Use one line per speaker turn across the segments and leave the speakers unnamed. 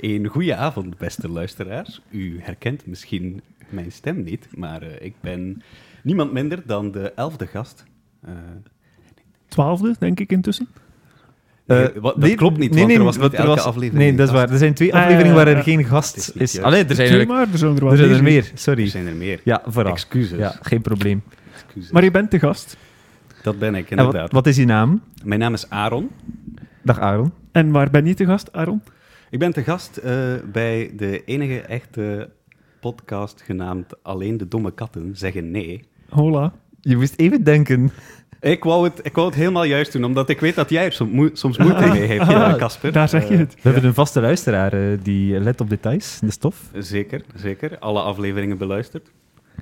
Een goede avond, beste luisteraars. U herkent misschien mijn stem niet, maar eh, ik ben niemand minder dan de elfde gast. Eh,
Twaalfde, denk ik intussen.
nee,
Eh,
wa- dat
nee,
klopt niet,
nee,
want
nee,
er was niet
want
elke aflevering
Nee,
een
dat is
gast.
waar. Er zijn twee
Ah, ja,
afleveringen
ja,
waar
ja.
er geen gast
Het is
is.
niet juist.
Allee, er zijn
Twee
er,
maar, er zijn er wel
er, zijn er
meer.
meer.
Er
Sorry.
zijn er meer.
Ja, vooral.
Excuses.
Ja, geen probleem.
Excuses.
Maar je bent de gast.
dat ben ik,
En
inderdaad.
wat, wat is je naam?
Mijn naam is Aaron.
Dag Aaron.
En waar ben je te gast, Aaron?
Ik ben te gast eh, bij de enige echte podcast genaamd Alleen de Domme Katten Zeggen Nee.
Hola.
Je moest even denken.
Ik wou, het, ik wou het helemaal juist doen, omdat ik weet dat jij er soms, moe- soms moeite mee hebt,
Ah,
eh, Casper.
Daar zeg je
Eh,
het.
We hebben een vaste luisteraar eh, die let op details, de stof.
Zeker, zeker. Alle afleveringen beluisterd.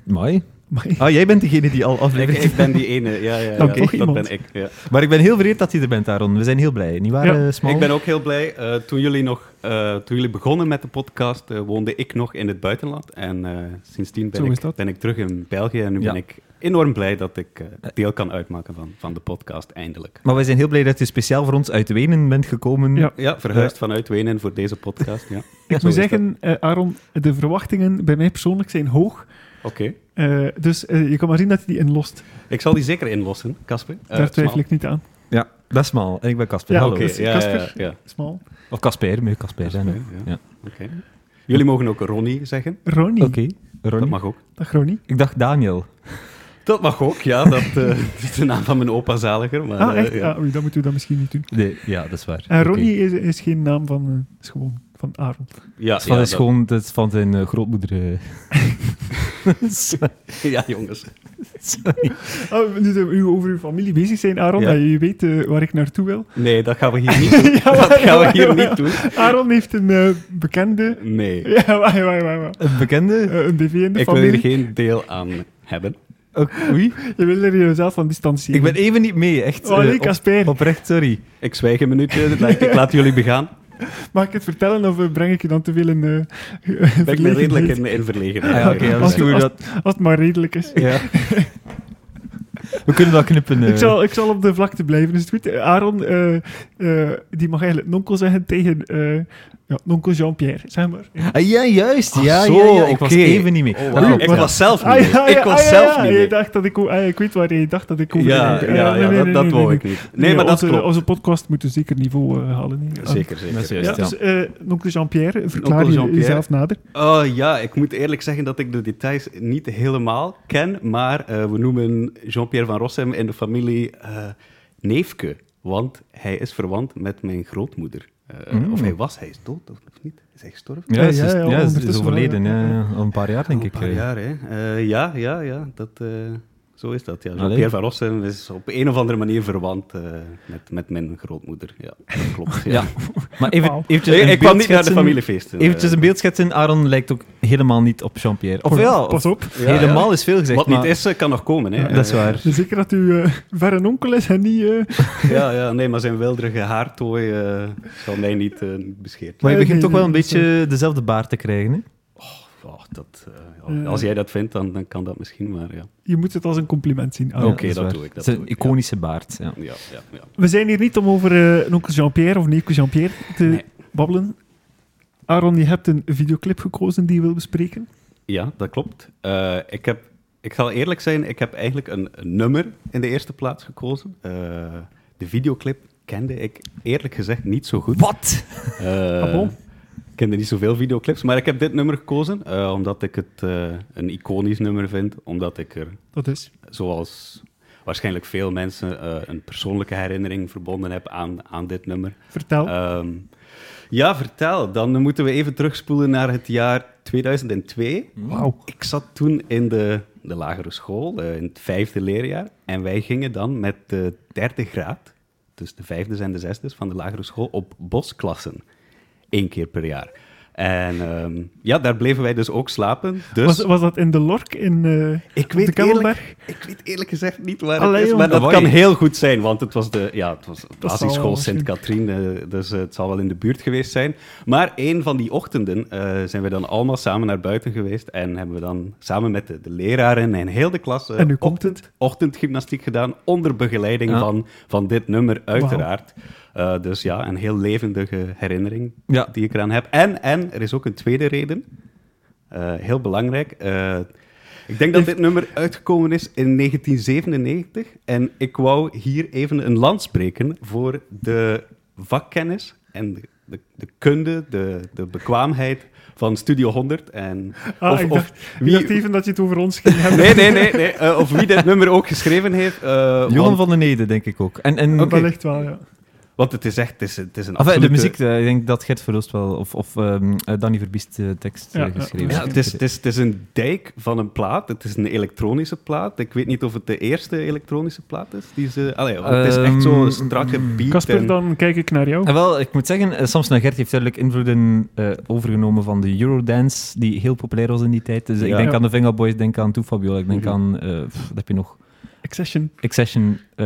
Mooi.
Maar,
Oh, jij bent degene die al
Ik,
afleveringen...
ik ben die ene, ja, ja, ja
Dan toch
dat
iemand.
ben ik. Ja.
Maar ik ben heel vereerd dat je er bent, Aaron. We zijn heel blij. Niet waar,
Ja.
eh, Smal?
Ik ben ook heel blij. eh, toen, jullie nog, eh, toen jullie begonnen met de podcast, eh, woonde ik nog in het buitenland. En eh, sindsdien
Zo
ben
is
ik,
dat.
ben ik terug in België. En nu
Ja.
ben ik enorm blij dat ik eh, deel kan uitmaken van, van de podcast, eindelijk.
Maar wij zijn heel blij dat je speciaal voor ons uit Wenen bent gekomen.
Ja.
Ja, verhuisd vanuit Wenen voor deze podcast. Ja.
ik
Zo
moet
is
zeggen, eh, Aaron, de verwachtingen bij mij persoonlijk zijn hoog.
Oké.
Eh, dus eh, je kan maar zien dat je die inlost.
Ik zal die zeker inlossen, Casper. Eh,
Daar twijfel
Smal.
ik niet aan.
Ja, dat is Smal. En ik ben Casper.
Ja,
Hallo.
Oké,
Dus
ja, ja, ja,
Casper?
ja.
Smal.
Of Casper, moet je Casper zijn. hè.
Casper, ja.
Ja.
Oké. Jullie mogen ook Ronnie zeggen.
Ronnie.
Oké, Ronnie.
Dat mag ook.
Dag Ronnie.
Ik dacht Daniel.
Dat mag ook, ja. Dat eh, is de naam van mijn opa zaliger. Maar,
Ah,
eh,
echt?
ja.
Ah, oei, dan moeten we dat misschien niet doen.
Nee, ja, dat is waar.
En
Oké.
Ronnie is, is geen naam van... eh, is gewoon van Aaron.
Ja,
Dat is van,
ja,
is
dat-
gewoon, dat is van zijn eh, grootmoeder. eh.
ja, jongens.
Oh, nu dat we over uw familie bezig zijn, Aaron,
Ja.
eh, je weet eh, waar ik naartoe wil.
Nee, dat gaan we hier niet doen. dat
maar-
gaan we
maar-
hier
maar-
niet doen.
Aaron heeft een eh, bekende...
Nee,
Ja, wacht, wacht, wacht, wacht.
Een bekende?
Eh, een BV in de
ik wil
familie.
hier geen deel aan hebben.
Ook- Oei.
Je wil er jezelf van distancieren.
Ik ben even niet mee, echt.
Oh,
eh,
nee,
op-
Casper.
oprecht, sorry.
Ik zwijg een minuutje, ik laat- ik laat jullie begaan.
Mag ik het vertellen of eh, breng ik je dan te veel in eh,
Ben ik ben redelijk
verlegenheid?
in, in verlegenheid.
Ah, ja, oké, anders
Als-
doen we
als-
dat.
Als het maar redelijk is.
Ja. We kunnen dat knippen. eh.
Ik, zal, ik zal op de vlakte blijven, is het goed? Eh, Aaron, eh, eh, die mag eigenlijk nonkel zeggen tegen eh ja, nonkel Jean-Pierre, zeg maar.
Ah, ja, juist.
Ah,
ja,
zo,
ja, ja. Ik was
oké.
even niet mee.
Oh,
Dat
wauw.
klopt,
ik
ja.
was zelf niet
Ah,
mee.
ja, ja,
ik was
ah, ja,
zelf
ja.
niet
Je
mee.
dacht dat ik... o- ah, ik weet waar je dacht dat ik over
Ja,
deed. Eh,
ja,
nee,
ja,
nee,
dat,
nee,
dat
nee,
wou
nee.
ik niet. Nee, maar dat
onze,
klopt.
Onze podcast moet een zeker niveau eh, halen. hè. Ah.
Zeker,
Dat is
zeker.
juist.
Ja,
ja.
dus eh, nonkel Jean-Pierre, verklaar
Nonkel
je
Jean-Pierre.
jezelf nader.
Oh ja, ik moet eerlijk zeggen dat ik de details niet helemaal ken, maar eh, we noemen Jean-Pierre van Rossem in de familie eh, Neefke, want hij is verwant met mijn grootmoeder. Eh,
Mm.
Of hij was, hij is dood of of niet? Is hij gestorven?
Ja,
Ja,
ze
ja,
is,
ja,
ja, ze is
ondertussen
overleden.
wel, ja.
ja, ja. Al een paar jaar, denk
Al
ik.
Een paar
eh.
jaar, hè? Eh, ja, ja, ja. Dat, eh, zo is dat. Ja.
Allee.
Jean-Pierre van Rossem is op een of andere manier verwant eh, met, met mijn grootmoeder. Ja, dat klopt. Ja.
Ja. Maar even,
Wauw.
eventjes
Nee,
een
ik kwam
beeld
niet naar de
schetsen.
familiefeesten.
Eventjes
eh.
een beeld schetsen. Aaron lijkt ook helemaal niet op Jean-Pierre. Of
Pas op,
wel?
Pas op.
Ja, ja.
helemaal is veel gezegd.
Wat
maar-
niet is, eh, kan nog komen. Hè?
Dat is
Eh,
waar.
Zeker dat u eh, verre onkel is en niet... eh,
Ja, ja, nee, maar zijn wilderige haartooi eh, zal mij niet eh, niet bescheerd.
Maar je
Nee,
begint
nee,
toch wel een
nee, dat is
beetje dezelfde baard te krijgen, hè?
Oh, dat, eh, als jij dat vindt, dan, dan kan dat misschien, maar ja.
Je moet het als een compliment zien. Ah, Aaron.
Oké,
is
dat
waar.
doe ik, dat
Het is
doe
een
ik, ja.
iconische baard, ja.
ja, ja, ja.
We zijn hier niet om over eh onkel Jean-Pierre of neefje Jean-Pierre te
Nee.
babbelen. Aaron, je hebt een videoclip gekozen die je wil bespreken.
Ja, dat klopt. Eh, ik, heb, ik zal eerlijk zijn, ik heb eigenlijk een, een nummer in de eerste plaats gekozen. Eh, de videoclip kende ik eerlijk gezegd niet zo goed.
Wat?
Eh,
Ah, bon?
Ik kende niet zoveel videoclips, maar ik heb dit nummer gekozen eh, omdat ik het eh, een iconisch nummer vind. Omdat ik er
Dat is.
zoals waarschijnlijk veel mensen, eh, een persoonlijke herinnering verbonden heb aan, aan dit nummer.
Vertel.
Eh,
Ehm, ja, vertel. Dan moeten we even terugspoelen naar het jaar 2002.
Wauw.
Ik zat toen in de, de lagere school, eh, in het vijfde leerjaar. En wij gingen dan met de derde graad, dus de vijfdes en de zesdes van de lagere school, op bosklassen. Eén keer per jaar. En ehm, ja, daar bleven wij dus ook slapen. Dus...
was, was dat in de Lork in eh, op
Ik weet,
de Kemmelberg?
eerlijk, ik weet eerlijk gezegd niet waar
Allee,
het is,
jong.
maar dat
Hawaii.
kan heel goed zijn, want het was de, ja, het was de
zal
basisschool
wel
Sint-Katrien, eh, dus eh, het zal wel in de buurt geweest zijn. Maar een van die ochtenden eh, zijn we dan allemaal samen naar buiten geweest en hebben we dan samen met de, de leraren en heel de klas eh,
En nu komt het.
ochtendgymnastiek gedaan onder begeleiding
Ja.
van, van dit nummer, uiteraard. Eh, dus ja, een heel levendige herinnering
Ja.
die ik eraan heb. En, en er is ook een tweede reden, Eh, heel belangrijk. Eh, ik denk dat dit nummer uitgekomen is in 1997. En ik wou hier even een land spreken voor de vakkennis en de, de, de kunde, de, de bekwaamheid van Studio 100. En,
Ah,
of-
ik,
of
dacht, ik dacht even dat je het over ons ging hebben.
Nee, nee, nee. nee. Eh, of wie dit nummer ook geschreven heeft. eh,
Johan
want,
van den Ede, denk ik ook. En, en
Oké.
Wellicht wel, ja.
want het is echt het is, het is een
Enfin,
absolute...
de muziek, eh, ik denk dat Gert Verhulst wel, of, of ehm, eh, Danny Verbiest eh, tekst eh,
Ja, ja.
geschreven
Ja,
heeft.
het, is, het, is, het is een dijk van een plaat. Het is een elektronische plaat. Ik weet niet of het de eerste elektronische plaat is. Die ze, allee, want het is echt zo'n
Ehm,
strakke beat.
Casper,
en-
dan kijk ik naar jou.
En wel, ik moet zeggen, eh, Samson en Gert heeft duidelijk invloeden eh, overgenomen van de Eurodance, die heel populair was in die tijd. Dus ik
Ja.
denk
Ja.
aan de Venga Boys, denk aan Too Fabiola, ik denk
Mhm.
aan, eh, pff, wat heb je nog?
Accession.
Accession eh,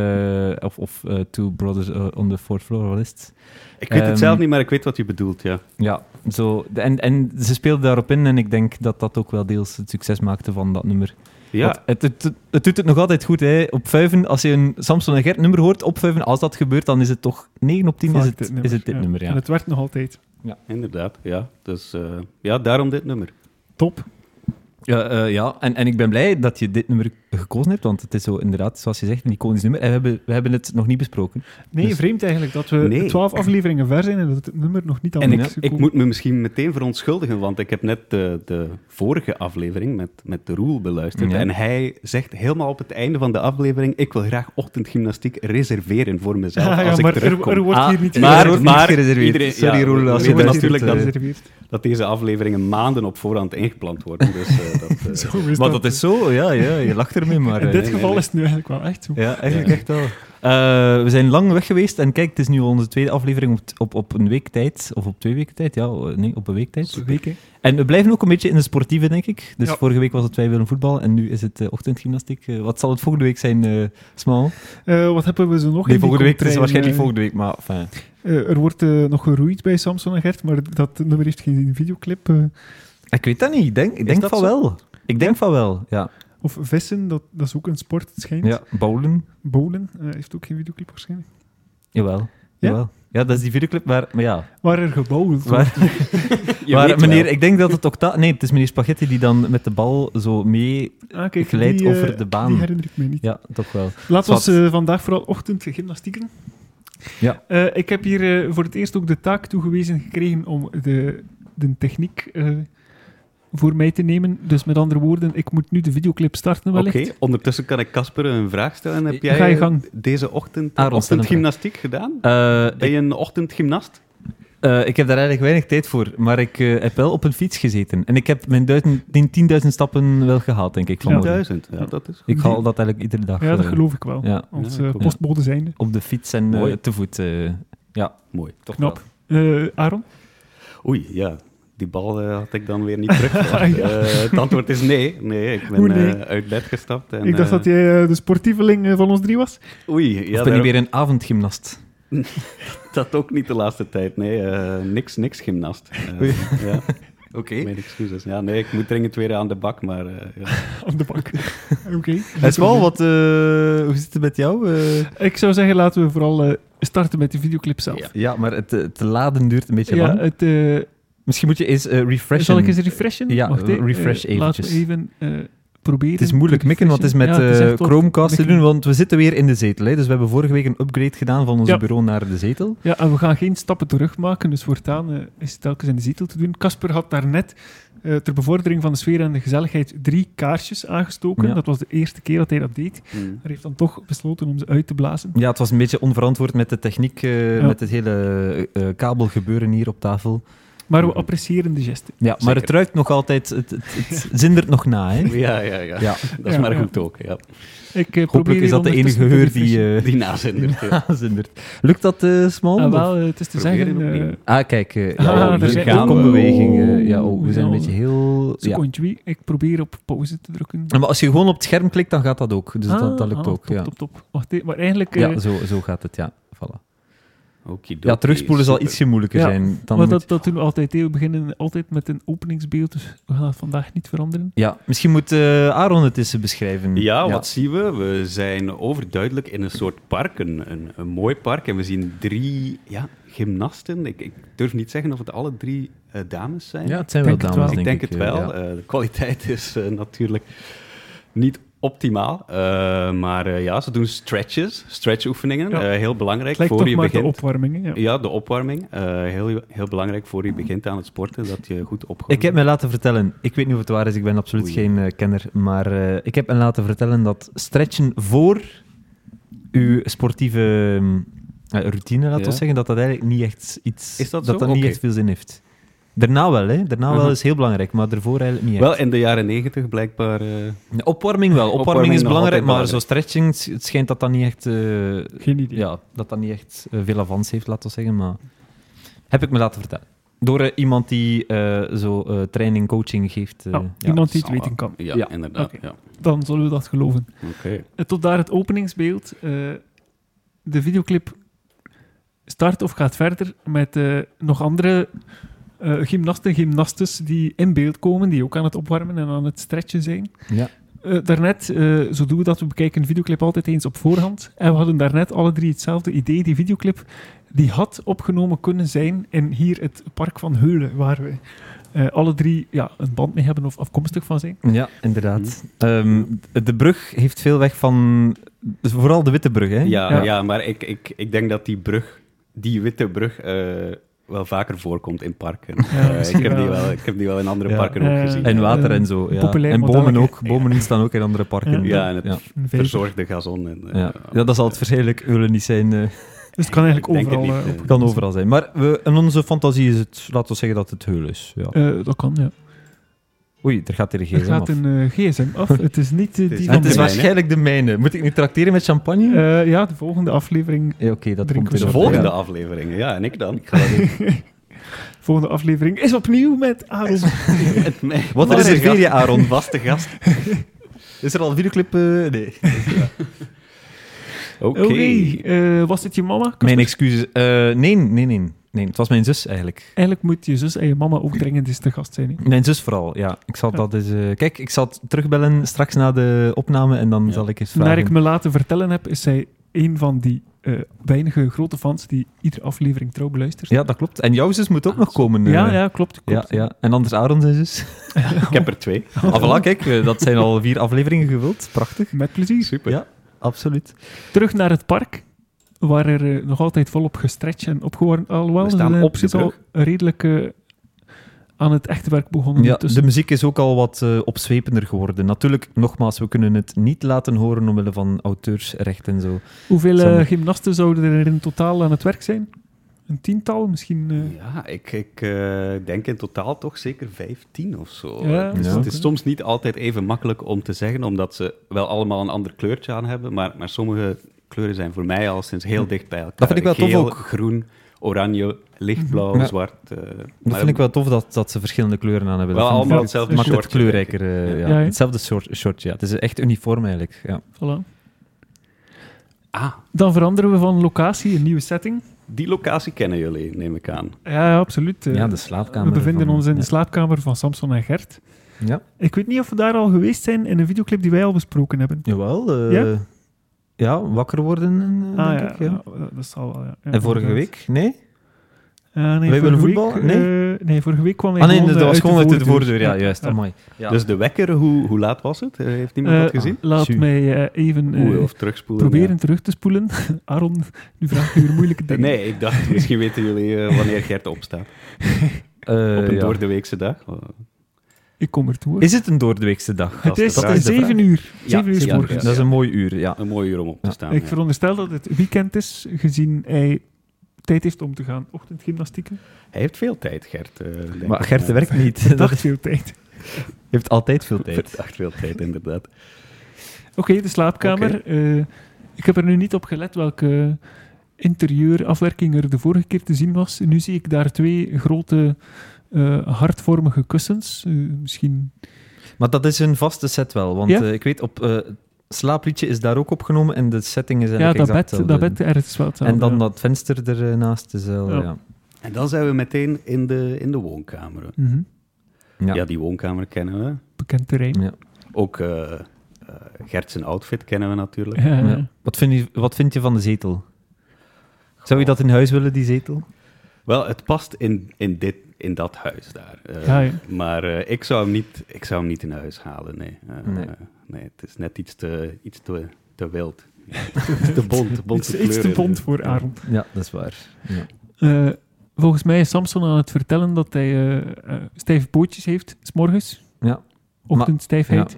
of, of eh, Two Brothers eh, on the Fourth Floor, wel is het?
Ik weet
Ehm,
het zelf niet, maar ik weet wat je bedoelt, ja.
Ja, zo, de- en, en ze speelden daarop in en ik denk dat dat ook wel deels het succes maakte van dat nummer. Want
Ja,
Het, het, het doet het nog altijd goed. Hè. Op vijven, als je een Samson en Gert nummer hoort, op vijven, als dat gebeurt, dan is het toch 9 op 10 is
Vaak
het,
dit
is het dit
ja.
nummer. Ja.
En het werkt nog altijd.
inderdaad. Ja. Dus eh, ja, daarom dit nummer.
Top.
Ja, eh, ja. En, en ik ben blij dat je dit nummer gekozen hebt, want het is zo inderdaad, zoals je zegt, een iconisch nummer. En we hebben, we hebben het nog niet besproken.
Nee,
Dus-
vreemd eigenlijk dat we
Nee.
twaalf afleveringen ver zijn en dat het nummer nog niet aan
En
bod
ik,
is
ik
gekomen.
moet me misschien meteen verontschuldigen, want ik heb net de, de vorige aflevering met, met de Roel beluisterd.
Ja.
En hij zegt helemaal op het einde van de aflevering, ik wil graag ochtendgymnastiek reserveren voor mezelf
Ah, ja,
als
maar
ik
er-
terugkom.
er, wordt
Ah,
hier niet
maar-
gereserveerd.
wordt niet gereserveerd.
iedereen-
Sorry,
ja,
Roel,
we
als je
weten
luistert,
natuurlijk
eh,
dat,
gereserveerd.
dat deze afleveringen maanden op voorhand ingepland worden. Dus, eh, dat, eh,
Zo is
Want dat is zo, ja, ja je lacht ermee, maar...
In
eh,
dit
nee,
geval
nee.
is het nu eigenlijk wel echt zo.
Ja, eigenlijk
Ja.
echt wel. Eh, we zijn lang weg geweest en kijk, het is nu al onze tweede aflevering op, t- op, op een week tijd, of op twee weken tijd, ja, eh, nee, op een week tijd.
Twee weken.
En we blijven ook een beetje in de sportieve, denk ik. Dus
Ja.
vorige week was het wij willen voetbal en nu is het eh, ochtendgymnastiek. Eh, wat zal het volgende week zijn, eh Smal?
Eh, wat hebben we zo nog? in
Nee,
die
volgende week, het is
contraien,
waarschijnlijk
eh,
volgende week, maar enfin.
eh, er wordt eh, nog geroeid bij Samson en Gert, maar dat nummer heeft geen videoclip. eh.
Ik weet dat niet, ik denk, ik denk
dat
van
zo?
wel. Ik denk van wel, ja.
of vissen, dat, dat is ook een sport, het schijnt.
ja. Bowlen,
Bowlen eh, heeft ook geen videoclip waarschijnlijk.
jawel.
Ja?
jawel. Ja, dat is die videoclip waar, maar ja.
Waar er gebouwd wordt.
Waar,
je
waar
weet wel.
meneer, ik denk dat het octa... Nee, het is meneer Spaghetti die dan met de bal zo mee...
Ah, kijk,
Glijdt
die, eh,
over de baan.
Die herinner ik me niet.
Ja, toch wel.
Laten we ons,
Zwart.
eh, vandaag vooral ochtend gymnastieken.
Ja.
Eh, ik heb hier eh, voor het eerst ook de taak toegewezen gekregen om de, de techniek eh, voor mij te nemen. Dus met andere woorden, ik moet nu de videoclip starten
Oké,
wellicht.
ondertussen kan ik Casper een vraag stellen. Heb jij
Ga je
eh,
gang.
deze ochtend
Aaron,
ochtendgymnastiek gedaan?
Eh,
Ben je een ochtendgymnast?
Eh, ik heb daar eigenlijk weinig tijd voor, maar ik eh, heb wel op een fiets gezeten. En ik heb mijn duizend, die 10.000 stappen wel gehaald, denk ik. vanmorgen.
10.000, ja, dat is goed.
Ik haal dat eigenlijk iedere dag.
Ja, dat
eh,
geloof ik wel.
ja,
Als
Ja,
eh,
klopt.
postbode zijnde.
op de fiets en eh,
Mooi.
te voet. eh, ja,
Mooi.
toch
Knap.
wel.
Eh, Aaron?
Oei, ja. Die bal eh, had ik dan weer niet terug.
Ah, Ja.
Eh, het antwoord is nee. Nee, ik ben
Hoe nee?
eh, uit bed gestapt. En,
ik dacht
eh,
dat jij eh, de sportieveling eh, van ons drie was.
Oei, ja,
of ben je
daar-
weer een avondgymnast?
dat ook niet de laatste tijd. Nee, eh, niks, niks gymnast. Eh,
Oei.
ja,
Oké.
mijn excuses. Ja, nee, ik moet dringend weer aan de bak, maar eh, ja.
Aan de bank. Oké.
Het is wel wat. eh, hoe zit het met jou? eh?
Ik zou zeggen, laten we vooral eh, starten met de videoclip zelf.
ja. maar het, eh, het laden duurt een beetje
Ja,
lang.
het, eh,
Misschien moet je eens eh, refreshen.
Zal ik eens refreshen?
Ja,
Wacht, eh,
refresh
eh, Laten we even
eventjes.
eh, proberen.
Het is moeilijk
te
mikken, want het is met
refreshen. Ja,
eh,
het is echt wel-
Chromecast te
mikken.
doen, want we zitten weer in de zetel. Hè? Dus we hebben vorige week een upgrade gedaan van ons
Ja.
bureau naar de zetel.
Ja, en we gaan geen stappen terug maken, dus voortaan eh, is het telkens in de zetel te doen. Casper had daarnet eh ter bevordering van de sfeer en de gezelligheid drie kaarsjes aangestoken.
Ja.
Dat was de eerste keer dat hij dat deed.
Mm.
Hij heeft dan toch besloten om ze uit te blazen.
Ja, het was een beetje onverantwoord met de techniek, eh,
Ja.
met het hele eh, eh, kabelgebeuren hier op tafel.
Maar
Mm-hmm.
we appreciëren de geste.
Ja, maar
Zeker.
het ruikt nog altijd, het, het, het zindert nog na. Hè?
ja, ja, ja.
Ja.
Dat is
Ja,
maar
ja.
goed ook. Ja.
Ik, eh, probeer
Hopelijk is
hier
dat de enige
ondertussen te
geur die
refreshen.
eh,
Die nazindert. ja.
zindert. Lukt dat, eh Smal?
Ah,
Of-
wel, eh, het is te
Probeer
zeggen,
het opnieuw.
eh
Ah, kijk, eh,
Ah,
ja,
daar
hier
zijn-
gaan we.
oh.
beweging. eh, ja, oh, we zijn een
Ja.
beetje heel... Ja. Nou,
secondje, wie? ik probeer op pauze te drukken.
Maar als je gewoon op het scherm klikt, dan gaat dat ook. Dus dat,
Ah,
dat lukt
ah,
ook,
top,
ja.
Top, top. Wacht, eh, maar eigenlijk... eh,
Ja, zo, zo gaat het, ja. Voilà.
Oké,
Ja, terugspoelen zal ietsje moeilijker
Ja,
zijn dan...
maar
met-
dat, dat doen we altijd. hè. We beginnen altijd met een openingsbeeld, dus we gaan dat vandaag niet veranderen.
Ja, misschien moet eh, Aaron het eens beschrijven.
Ja, wat zien we? We zijn overduidelijk in een soort park, een, een, een mooi park. En we zien drie ja, gymnasten. Ik, ik durf niet zeggen of het alle drie eh, dames zijn.
Ja, het zijn wel
Denk
dames,
het
denk
wel.
ik denk het
eh,
wel.
ja.
Eh, de kwaliteit is eh, natuurlijk niet optimaal. Eh, maar eh, ja, ze doen stretches, stretchoefeningen.
Ja.
Eh, heel belangrijk
Het lijkt
voor
toch
je
maar
begint.
de opwarming. hè, Ja.
ja, de opwarming. Eh, heel, heel belangrijk voor je begint aan het sporten, dat je goed opgewarmd
Ik heb me laten vertellen, ik weet niet of het waar is, ik ben absoluut
Oei.
geen eh, kenner, maar eh, ik heb me laten vertellen dat stretchen voor uw sportieve eh, routine, laten we
Ja.
zeggen, dat dat eigenlijk niet echt iets...
Is dat zo?
dat niet
Oké.
echt veel zin heeft. Daarna wel, hè. Daarna wel
Mhm.
is heel belangrijk, maar daarvoor eigenlijk niet echt.
Wel, in de jaren negentig blijkbaar... eh,
Nee, Opwarming wel. Opwarming,
Opwarming
is
nog
belangrijk, maar
altijd
zo stretching, het- het schijnt dat dat niet echt... eh,
Geen idee.
ja, dat dat niet echt eh, veel avans heeft, laten we zeggen. Maar heb ik me laten vertellen. Door eh, iemand die eh, zo eh, training, coaching geeft. eh,
Ja,
ja.
iemand die het
zal
weten
wel.
kan.
ja,
Ja.
inderdaad.
Oké.
Ja.
Dan zullen we dat geloven.
Oké.
Eh, Tot daar het openingsbeeld. Eh, de videoclip start of gaat verder met eh, nog andere eh, gymnasten en gymnastes die in beeld komen, die ook aan het opwarmen en aan het stretchen zijn.
Ja.
Eh, daarnet, eh, zo doen we dat, we bekijken een videoclip altijd eens op voorhand. En we hadden daarnet alle drie hetzelfde idee. Die videoclip die had opgenomen kunnen zijn in hier het park van Heulen, waar we eh, alle drie ja, een band mee hebben of afkomstig van zijn.
Ja, inderdaad. Ehm,
Mm-hmm.
de brug heeft veel weg van... dus vooral de witte brug, hè?
Ja,
Ja.
ja. maar ik, ik, ik denk dat die brug, die witte brug, eh, wel vaker voorkomt in parken. Eh,
misschien
ik, heb die
wel.
wel, ik heb die wel in andere
Ja.
parken
Eh,
ook gezien.
En water
Eh,
en zo. Ja.
populair
En bomen
modelletje.
ook. Bomen staan ook in andere parken.
Ehm, ja, en het
ja.
Een vijver.
verzorgde gazon. En, eh,
Ja. Ja, dat zal het waarschijnlijk Eulen niet zijn. eh,
Dus het kan eigenlijk
Ik denk het
overal
niet,
eh,
eh.
op-
kan overal zijn. Maar we, in onze fantasie is het... Laten we zeggen dat het Heulen is. Ja.
Eh, dat kan, ja.
Oei, er gaat hier geen
Er gaat een eh, gsm af. Het is niet eh,
Het is-
die
het
van
Het is
de mijne. waar-
waarschijnlijk de mijne. Moet ik nu tracteren met champagne?
mij. Eh, ja, de volgende aflevering.
Ja, Oké, dat
Drinken
komt in
we
De
Ja.
volgende
Ja.
afleveringen, ja, en ik dan.
Volgende aflevering is opnieuw met Aaron.
Het mij-
Wat
vaste
reserveer je,
gast.
Aaron?
Vaste gast.
Is er al een videoclip? eh, nee.
Oké.
Oké, eh, was dit je mama?
Mijn excuses. Eh, nee, nee, nee, nee. Het was mijn zus eigenlijk.
Eigenlijk moet je zus en je mama ook dringend eens te gast zijn. hè.
Mijn zus vooral, ja. Ik zal
Ja.
dat eens... eh, kijk, ik zal het terugbellen straks na de opname en dan
Ja.
zal ik eens vragen.
Naar ik me laten vertellen heb, is zij een van die eh, weinige grote fans die iedere aflevering trouw beluistert.
Ja, dat klopt. En jouw zus moet ook
Ah,
nog
zo.
komen. eh.
ja, ja, klopt.
Ja,
klopt.
ja. En anders Aaron zijn zus.
Ik heb er twee.
Ah, voilà, kijk. eh, Dat zijn al vier afleveringen gevuld. Prachtig.
Met plezier.
Super.
Ja. Absoluut.
Terug naar het park, waar er eh, nog altijd volop gestretched en opgewarmd. Alhoewel,
We staan
ze zijn
op de
zitten al redelijk eh, aan het echte werk begonnen.
Ja,
Dus
de muziek is ook al wat eh, opzwepender geworden. Natuurlijk, nogmaals, we kunnen het niet laten horen omwille van auteursrecht en zo.
Hoeveel eh,
Sander.
gymnasten zouden er in totaal aan het werk zijn? Een tiental misschien? eh?
Ja, ik, ik eh, denk in totaal toch zeker 15 of zo.
Ja,
Dus
ja.
Het is soms niet altijd even makkelijk om te zeggen, omdat ze wel allemaal een ander kleurtje aan hebben. Maar, maar sommige kleuren zijn voor mij al sinds heel dicht bij elkaar.
Dat vind ik wel tof
Geel,
ook.
groen, oranje, lichtblauw,
Ja.
zwart. eh,
Dat
maar
vind ik wel tof dat, dat ze verschillende kleuren aan hebben.
Wel
dat vind ik-
allemaal
het
hetzelfde
maakt het
shortje,
kleurrijker.
denk ik.
eh, ja.
Ja, hè?
Hetzelfde soort, shortje. Ja. Het is echt uniform eigenlijk. Ja.
Voilà.
Ah,
Dan veranderen we van locatie, een nieuwe setting.
die locatie kennen jullie, neem ik aan.
Ja, ja, absoluut. eh.
ja, de slaapkamer.
we bevinden
van-
ons in de
ja.
slaapkamer van Samson en Gert.
Ja.
Ik weet niet of we daar al geweest zijn in een videoclip die wij al besproken hebben.
Jawel. eh,
Ja?
ja? wakker worden, eh,
ah
denk
ja,
ik. Ja.
ja, dat zal wel. Ja. Ja,
En vorige
inderdaad.
week? Nee?
Ah, nee,
Wij
vorige
willen
week,
voetballen? Nee?
eh, nee, vorige week kwam wij
ah nee,
gewoon,
dat
eh,
was gewoon uit de voordeur. Ja,
Ja.
juist.
Ja.
Amai. Ja.
Dus de wekker, hoe, hoe laat was het? Eh, heeft niemand
Eh,
dat gezien?
Laat
Tju.
mij eh, even eh,
Oeh, of terugspoelen.
proberen
ja.
terug te spoelen. Aaron, nu vraag je weer moeilijke dingen.
Eh, Nee, ik dacht, misschien weten jullie eh, wanneer Gert opstaat.
Eh,
Op een
ja.
doordeweekse dag. Eh,
Ik kom ertoe. hoor.
Is het een doordeweekse dag?
Het
dat
is
de
vraag.
7 uur.
Ja,
7 uur 's
zeven
morgens.
uur,
Dat is een mooi uur, ja.
Een mooi uur om op te
Ja.
staan.
Ik
ja.
veronderstel dat het weekend is, gezien hij tijd heeft om te gaan ochtendgymnastieken.
Hij heeft veel tijd, Gert. eh, denk
Maar
ik.
Gert
Ja.
werkt niet. Dat
Dacht veel tijd.
heeft altijd veel tijd.
Verdacht veel tijd, inderdaad.
Oké, de slaapkamer. Eh, ik heb er nu niet op gelet welke interieurafwerking er de vorige keer te zien was. Nu zie ik daar twee grote eh, hartvormige kussens. Eh, misschien
Maar dat is een vaste set wel. Want
Ja?
eh, ik weet, op eh, slaapliedje is daar ook opgenomen en de setting is
Ja,
eigenlijk
dat
exact
bed, dat
hetzelfde.
bed ergens wel hetzelfde,
En dan
ja.
dat venster ernaast is wel,
Ja.
ja.
En dan zijn we meteen in de, in de woonkamer.
Mhm.
Ja.
Ja.
die woonkamer kennen we.
Bekend terrein.
Ja.
Ook eh eh, Gert zijn outfit kennen we natuurlijk.
Ja.
Ja. Wat, vind je, wat vind je van de zetel? Zou je dat in huis willen, die zetel?
Wel, het past in, in, dit, in dat huis daar. Eh,
Ja, ja.
Maar eh, ik, zou hem niet, ik zou hem niet in huis halen, nee. Eh,
Nee.
eh, nee, het is net iets te, iets te, te wild. Iets te bont. bonte
Iets, iets te
kleuren.
bond voor Aaron.
Ja, dat is waar. Ja.
Eh, volgens mij is Samson aan het vertellen dat hij eh, eh, stijve pootjes heeft, s'morgens.
Ja.
Ochtendstijfheid.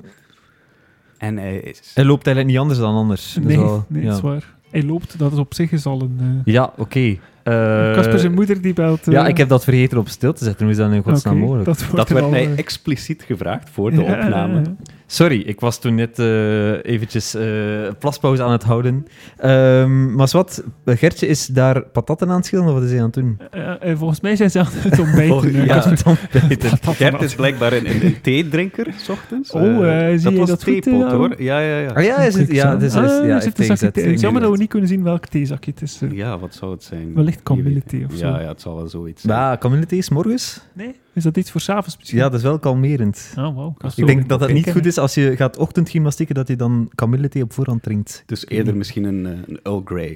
En hij is...
Hij loopt eigenlijk niet anders dan anders. Dat is
Nee,
wel-
nee,
ja.
dat is waar. Hij loopt, dat is op zich is al een... eh,
Ja, oké. Eh,
Casper zijn moeder die belt. eh,
Ja, ik heb dat vergeten op stil te zetten. Hoe is dat in godsnaam
oké,
mogelijk?
Dat, wordt eh,
Dat
er
werd
al,
mij
eh,
expliciet gevraagd voor de
ja, ja,
opname.
ja.
Sorry, ik was toen net eh, eventjes eh, plaspauze aan het houden. Ehm, maar wat, Gertje is daar patat aan het schillen, of wat is hij aan het doen?
Eh, eh, volgens mij zijn ze aan het ontbijten.
Volgens-
eh,
ja.
Casper.
dan weet het.
Gert is blijkbaar een, een, een theedrinker, s ochtends.
Oh,
Eh,
eh, zie
dat
je
was
dat goed,
theepot,
eh,
hoor. Ja, ja, ja.
Ah ja, is het, ja, dus, is,
Ah,
ja,
er
heeft
zit
hij
een zakje
gezet.
thee. Het is Jammer dat we niet kunnen zien welk theezakje het is. eh.
Ja, wat zou het zijn?
Wellicht
Wie weet.
kamillethee of zo.
Ja, ja, het zal wel zoiets zijn.
Ja, kamillethee is morgens?
Nee? Is dat iets voor s'avonds misschien?
Ja, dat is wel kalmerend.
Ah, wauw. Casper.
Ik denk dat dat niet
Kijken,
goed is als je gaat ochtendgymnastieken, dat je dan kamillethee op voorhand drinkt.
Dus
weet
eerder
niet.
misschien een, eh, een Earl Grey.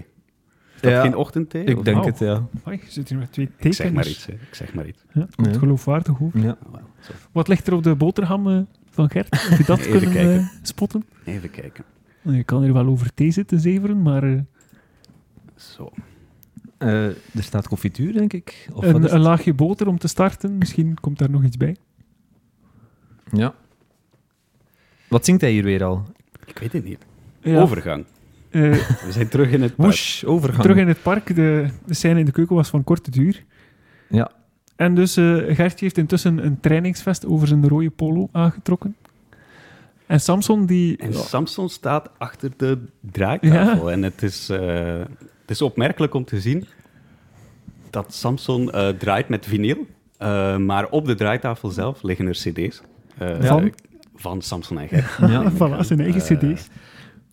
Is dat
Ja,
geen ochtendthee? Of-
Ik denk
Wauw.
het, ja.
hè. Oei, je zit hier met twee
Ik
tekens.
zeg maar iets, hè. ik zeg maar iets.
Ja, het komt
Ja.
geloofwaardig over.
ja.
Nou, wel, zo.
Wat ligt er op de boterham eh, van Gert? Heb je dat
Even
kunnen
kijken.
eh, spotten?
Even kijken.
Je kan er wel over thee zitten zeveren, maar eh,
Zo.
Eh, er staat confituur, denk ik. Of wat is
een, een
het?
laagje boter om te starten. Misschien komt daar nog iets bij.
Ja. Wat zingt hij hier weer al?
Ik weet het niet.
Ja,
Overgang.
eh,
We zijn terug in het park.
Woesh, overgang.
terug in het park. De, de scène in de keuken was van korte duur.
Ja.
En dus eh Gertje heeft intussen een trainingsvest over zijn rode polo aangetrokken. En Samson die...
En
ja,
Samson staat achter de draaitafel. En het is, eh, het is opmerkelijk om te zien dat Samson eh, draait met vinyl. eh, maar op de draaitafel zelf liggen er cd's. eh,
Van?
Van Samson en Gert.
Ja.
voilà, zijn eigen
Eh,
cd's.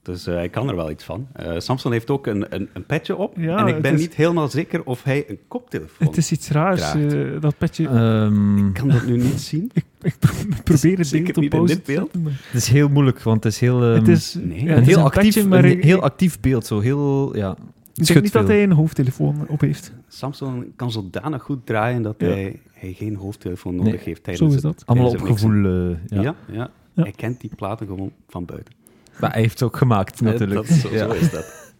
Dus eh, hij kan er wel iets van. Eh, Samson heeft ook een, een, een petje op.
Ja,
en ik
het
ben
is-
niet helemaal zeker of hij een koptelefoon...
Het is iets raars,
draagt.
eh, dat petje.
Ehm,
Ik kan dat nu niet zien.
Ik pro- probeer het
zeker
beeld
niet
op
in
pauze
dit
te
beeld.
zetten, maar-
het is heel moeilijk, want het is heel... ehm,
het is,
nee.
ja,
Een
het
een
is
heel,
een
actief,
petje, maar
een
ik-
heel actief beeld, zo heel... Ja,
ik denk
schudt
niet dat
veel.
hij een hoofdtelefoon op heeft.
Samson kan zodanig goed draaien dat
Ja.
hij, hij geen hoofdtelefoon nodig
Nee,
heeft
Zo
tijdens
is
het
dat.
allemaal
Is
op
er niks in?
gevoel. eh, ja.
Ja. Ja,
Ja.
hij kent die platen gewoon van buiten.
Maar hij heeft het ook gemaakt, natuurlijk.
Dat, zo,
ja.
zo is dat.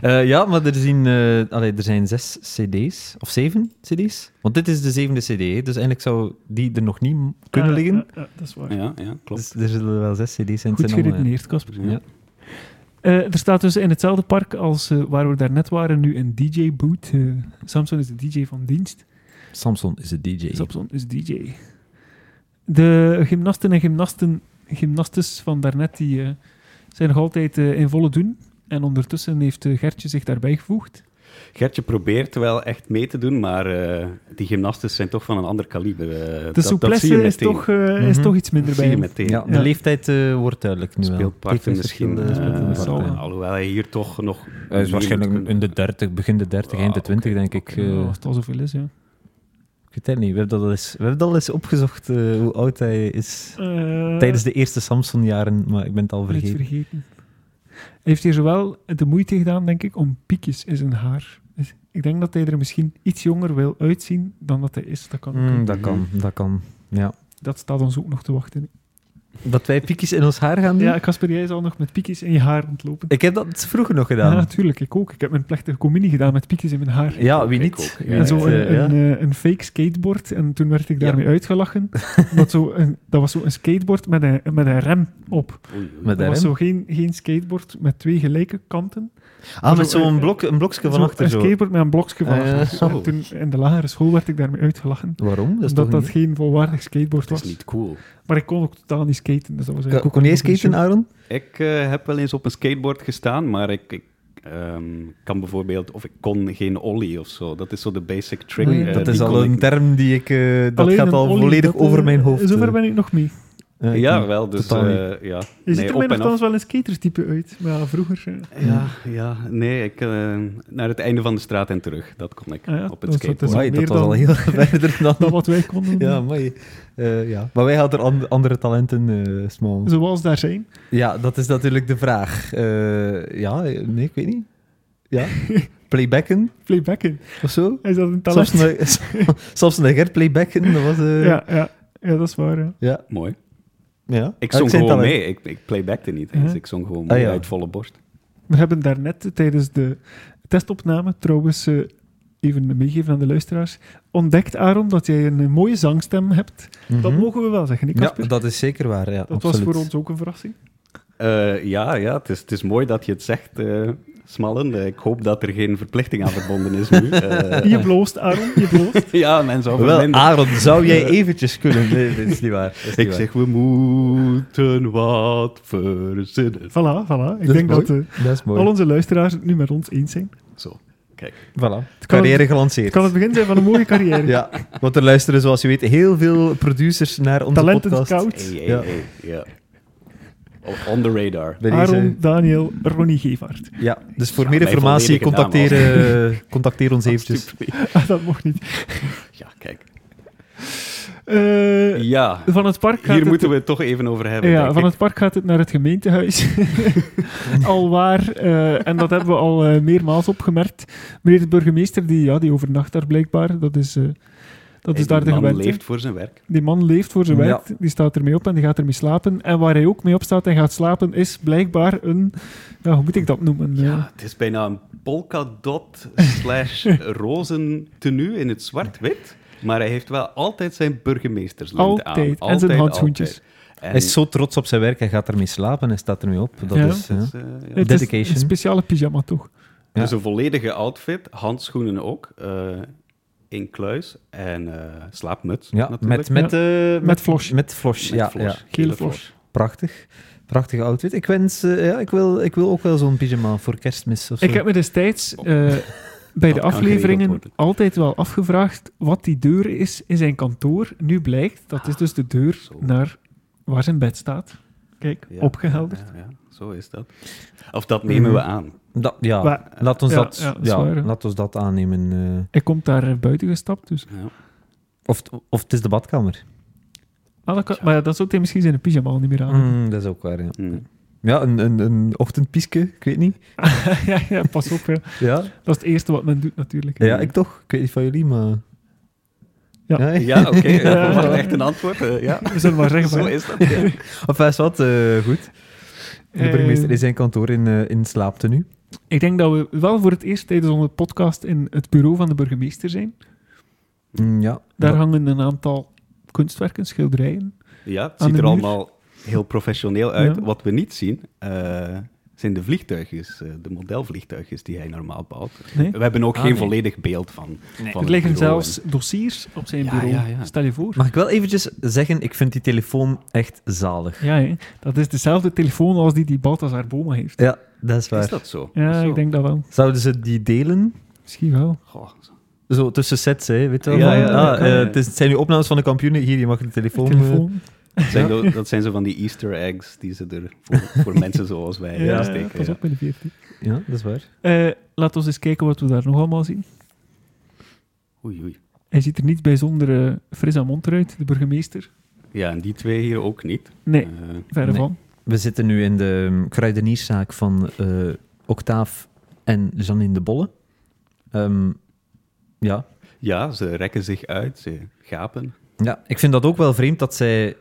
Eh, ja, maar er, zien, eh, allee, er zijn zes cd's, of zeven cd's. Want dit is de zevende cd, hè, dus eigenlijk zou die er nog niet m- kunnen
Ja,
liggen.
ja, ja, Eh, dat is waar.
Ja, ja klopt.
Dus er zullen wel zes cd's zijn.
Goed
Het zijn allemaal, ja.
geredeneerd, Casper.
Ja.
Ja.
Eh, er staat dus in hetzelfde park als eh, waar we daarnet waren, nu een DJ-boot. Samson is de DJ van dienst.
Samson is de DJ.
Samson is DJ. De gymnasten en gymnasten, gymnastes van daarnet die, eh, zijn nog altijd eh, in volle doen. En ondertussen heeft eh, Gertje zich daarbij gevoegd.
Gertje probeert wel echt mee te doen, maar eh, die gymnasten zijn toch van een ander kaliber. eh,
De
dat, dat zie je
souplesse is,
meteen.
toch, eh, is
Mhm.
toch iets minder
Dat zie
bij
je
hem.
meteen.
Ja, de
Ja.
leeftijd eh, wordt duidelijk nu wel.
Speelt parten
Leeftijd
misschien.
speelt, eh, speelt
eh,
een
dat
part,
zal
eh,
wel.
alhoewel hij hier toch nog.
Hij is waarschijnlijk in de 30, begin de 30, eind de
Ah,
20, denk ik. eh.
Ja, als het al zoveel is, ja.
ik weet het niet. We hebben dat al eens, we hebben dat al eens opgezocht, eh, hoe oud hij is. Tijdens de eerste Samson-jaren, maar ik ben het al
vergeten.
vergeten.
vergeten. Hij heeft hier zowel de moeite gedaan, denk ik, om piekjes in zijn haar. Dus ik denk dat hij er misschien iets jonger wil uitzien dan dat hij is. Dat, kan ook,
Mm,
hè.
dat kan, dat kan. Ja.
dat staat ons ook nog te wachten.
Dat wij piekjes in ons haar gaan doen?
Ja, Casper, jij zal nog met piekjes in je haar rondlopen.
Ik heb dat vroeger nog
Ja,
gedaan.
natuurlijk. Ik ook. Ik heb mijn plechtige communie gedaan met piekjes in mijn haar.
Ja, wie
Ik
niet?
ook, ja.
Wie
en
niet,
zo een,
eh, ja.
een, eh, een fake skateboard. En toen werd ik
Ja.
daarmee uitgelachen. omdat zo een, dat was zo'n skateboard met een, met een rem op.
Met
Er was
RM?
zo geen, geen skateboard met twee gelijke kanten.
Ah, met
zo-
zo'n blok, een blokje van
Zo,
achter
Een
zo.
skateboard met een blokje van
Ah, ja.
achter.
Zo.
En toen in de lagere school werd ik daarmee uitgelachen.
Waarom? Dat is
omdat
toch
dat
niet...
geen volwaardig skateboard
Dat is
was.
niet cool.
Maar ik kon ook totaal niet skaten. Dus dat was
Kon-
eigenlijk
Kon
ook
jij
een
skaten, Ah,
shock.
Aaron?
Ik eh, heb wel eens op een skateboard gestaan, maar ik, ik ehm, kan bijvoorbeeld, of ik kon geen ollie of zo. Dat is zo de basic trick.
Nee,
eh,
Oh dat
die
is
kon
al
ik
een term die ik... eh, dat
Alleen
gaat
een
al
ollie,
volledig
dat, eh,
over mijn hoofd.
Zover
eh.
ben ik nog mee.
Eh, ik
ja,
niet.
wel. Dus,
totaal
eh, ja.
Je ziet
Nee,
er
op
mij
en af.
nogthans wel een skatertype uit. Maar ja, vroeger... eh,
Ja, ja, nee, ik, eh, naar het einde van de straat en terug, dat kon ik
Ah ja,
op het
dat is wat
skateboard.
is
Amai,
meer
dat was
dan-
al heel verder dan...
dan wat wij konden.
Ja, mooi.
Eh,
ja. Maar wij hadden er an- andere talenten, eh Small.
Zoals daar zijn.
Ja, dat is natuurlijk de vraag. Eh, ja, nee, ik weet niet. Ja, playbacken
Playbacken.
of zo.
Is dat een
Soms
talent?
een- Soms een her playbacken, dat was... eh,
Ja, ja. ja, dat is waar. ja.
ja.
Mooi.
ja.
Ik
Ah,
zong
zei het
gewoon
al, hè.
mee. Ik, ik playbackte niet eens.
Ja.
Ik zong gewoon
Ah,
mee
ja.
uit volle borst.
We hebben daarnet tijdens de testopname trouwens eh, even meegeven aan de luisteraars. Ontdekt, Aaron, dat jij een eh, mooie zangstem hebt. Dat
Mhm.
mogen we wel zeggen, niet,
Ja,
Kasper?
dat is zeker waar. Ja,
dat was voor ons ook een verrassing.
Eh, ja, ja het, is, het is mooi dat je het zegt, eh, Smallen. Eh, ik hoop dat er geen verplichting aan verbonden is nu. Eh,
Je bloost, Aaron, je bloost.
ja, mensen over
Wel,
minder.
Aaron, zou jij eventjes kunnen... Nee, dat is niet waar. Dat is niet
ah, Ik
waar.
zeg, we moeten wat verzinnen.
voilà, voilà. Ik
Dat is
denk dat
mooi.
eh,
Dat is mooi.
al onze luisteraars het nu met ons eens zijn.
Zo, kijk.
Voilà.
kan
Carrière
Het
gelanceerd.
kan het begin zijn van een mooie carrière.
Ja, want er luisteren, zoals je weet, heel veel producers naar onze
Talenten
podcast.
Hey,
koud.
hey,
Ja.
hey, ja. On- On the radar.
Bij deze-
Aaron, Daniel, Ronnie Gevaert.
Ja, dus voor
Ja,
meer
mijn
informatie,
volledige naam
contacteer, eh, contacteer ons eventjes.
Alsjeblieft.
Ah, dat mocht niet.
Ja, kijk.
Eh,
Ja,
van het park gaat
hier
het-
moeten we het toch even over hebben.
Ja,
denk
van
ik.
het park gaat het naar het gemeentehuis. al waar, eh, en dat hebben we al eh, meermaals opgemerkt. Meneer de burgemeester, die, ja, die overnacht daar blijkbaar, dat is, eh, dat
Hey,
is daar
die
de
man
gewente.
leeft voor zijn werk.
Die man leeft voor zijn
Ja.
werk, die staat ermee op en die gaat ermee slapen. En waar hij ook mee opstaat en gaat slapen, is blijkbaar een, ja, hoe moet ik dat noemen? Eh,
Ja, het is bijna een polkadot slash rozen tenue in het zwart-wit. Maar hij heeft wel altijd zijn burgemeesterslint aan.
Altijd. En zijn handschoentjes.
altijd. En
Hij is zo trots op zijn werk, hij gaat ermee slapen en staat ermee op. Dat
Ja.
is,
dat
eh,
is, eh, ja.
het is
Dedication.
een speciale pyjama toch?
Ja.
Dus een volledige outfit, handschoenen ook, eh in kluis en eh, slaapmuts
ja,
natuurlijk.
met, met, eh,
Met flosh.
Met flosh,
Met
ja,
vlos,
ja.
Gele
gele
vlos.
vlos.
Prachtig. Prachtig outfit. Ik, wens, eh, ja, ik, wil, ik wil ook wel zo'n pyjama voor kerstmis of zo.
Ik heb me destijds
Oh.
eh, bij de
kan geregeld
afleveringen
worden.
altijd wel afgevraagd wat die deur is in zijn kantoor. Nu blijkt, dat is dus de deur
zo.
naar waar zijn bed staat. Kijk,
Ja,
opgehelderd. Mhm.
Ja, ja, zo is dat. Of dat nemen we aan.
Dat- ja,
Maar
laat ons,
ja,
dat,
ja, dat is
ja,
waar, hè.
laat ons dat aannemen. eh.
Hij komt daar eh, buiten gestapt, dus...
Ja.
of, of het is de badkamer.
Ah, dat kan- Maar ja, dan zou hij misschien zijn pyjama al niet meer aan. hebben.
Mm, dat is ook waar, ja.
Mm.
Ja, een, een, een ochtendpieske, ik weet niet.
ja, ja, pas op. Ja.
Ja,
Dat is het eerste wat men doet, natuurlijk.
ja ik toch. Ik weet niet van jullie, maar...
Ja.
Ja, oké. eh,
Ja.
Dat was echt een antwoord. eh, ja.
We zullen maar zeggen.
Zo
maar-
is dat. ja.
Of is wat, eh, goed. De
Eh,
burgemeester is zijn kantoor in, eh in slaaptenu.
Ik denk dat we wel voor het eerst tijdens onze podcast in het bureau van de burgemeester zijn.
Mm, ja.
Daar
Dat-
hangen een aantal kunstwerken, schilderijen.
Ja, het
Aan
ziet
de
er
muur.
allemaal heel professioneel uit.
Ja.
Wat we niet zien, eh, zijn de vliegtuigjes, eh, de modelvliegtuigjes die hij normaal bouwt.
Nee?
We hebben ook
Ah,
geen
nee.
volledig beeld van. van
Er
het
liggen
bureau
zelfs dossiers op zijn
Ja,
bureau.
ja, ja.
Stel je voor.
Mag ik wel eventjes zeggen, ik vind die telefoon echt zalig.
Ja, hè. dat is dezelfde telefoon als die die Balthazar Boma heeft.
Ja, dat is
en-
waar.
Is dat zo?
Ja,
Zo.
ik denk dat wel.
Zouden ze die delen?
Misschien wel.
Goh, zo.
Zo tussen sets, hè, weet je wel?
Ja,
van,
ja, dat
ah,
kan,
eh,
ja.
het, is- het zijn nu opnames van de kampioenen. Hier, je mag de telefoon... eh,
telefoon.
Dat zijn zo- dat zijn zo van die easter eggs die ze er voor, voor mensen zoals wij
Ja,
ja,
ja,
steken.
pas
Ja.
op met de 14.
Ja, dat is waar.
Eh laten we eens kijken wat we daar nog allemaal zien.
Oei, oei.
Hij ziet er niet bijzonder eh, fris aan mond uit, de burgemeester.
Ja, en die twee hier ook niet.
Nee,
Eh,
verre
nee.
van.
We zitten nu in de ehm, kruidenierszaak van eh Octaaf en Janine de Bolle. Ehm, ja,
ja, ze rekken zich uit, ze gapen.
Ja, ik vind dat ook wel vreemd dat zij...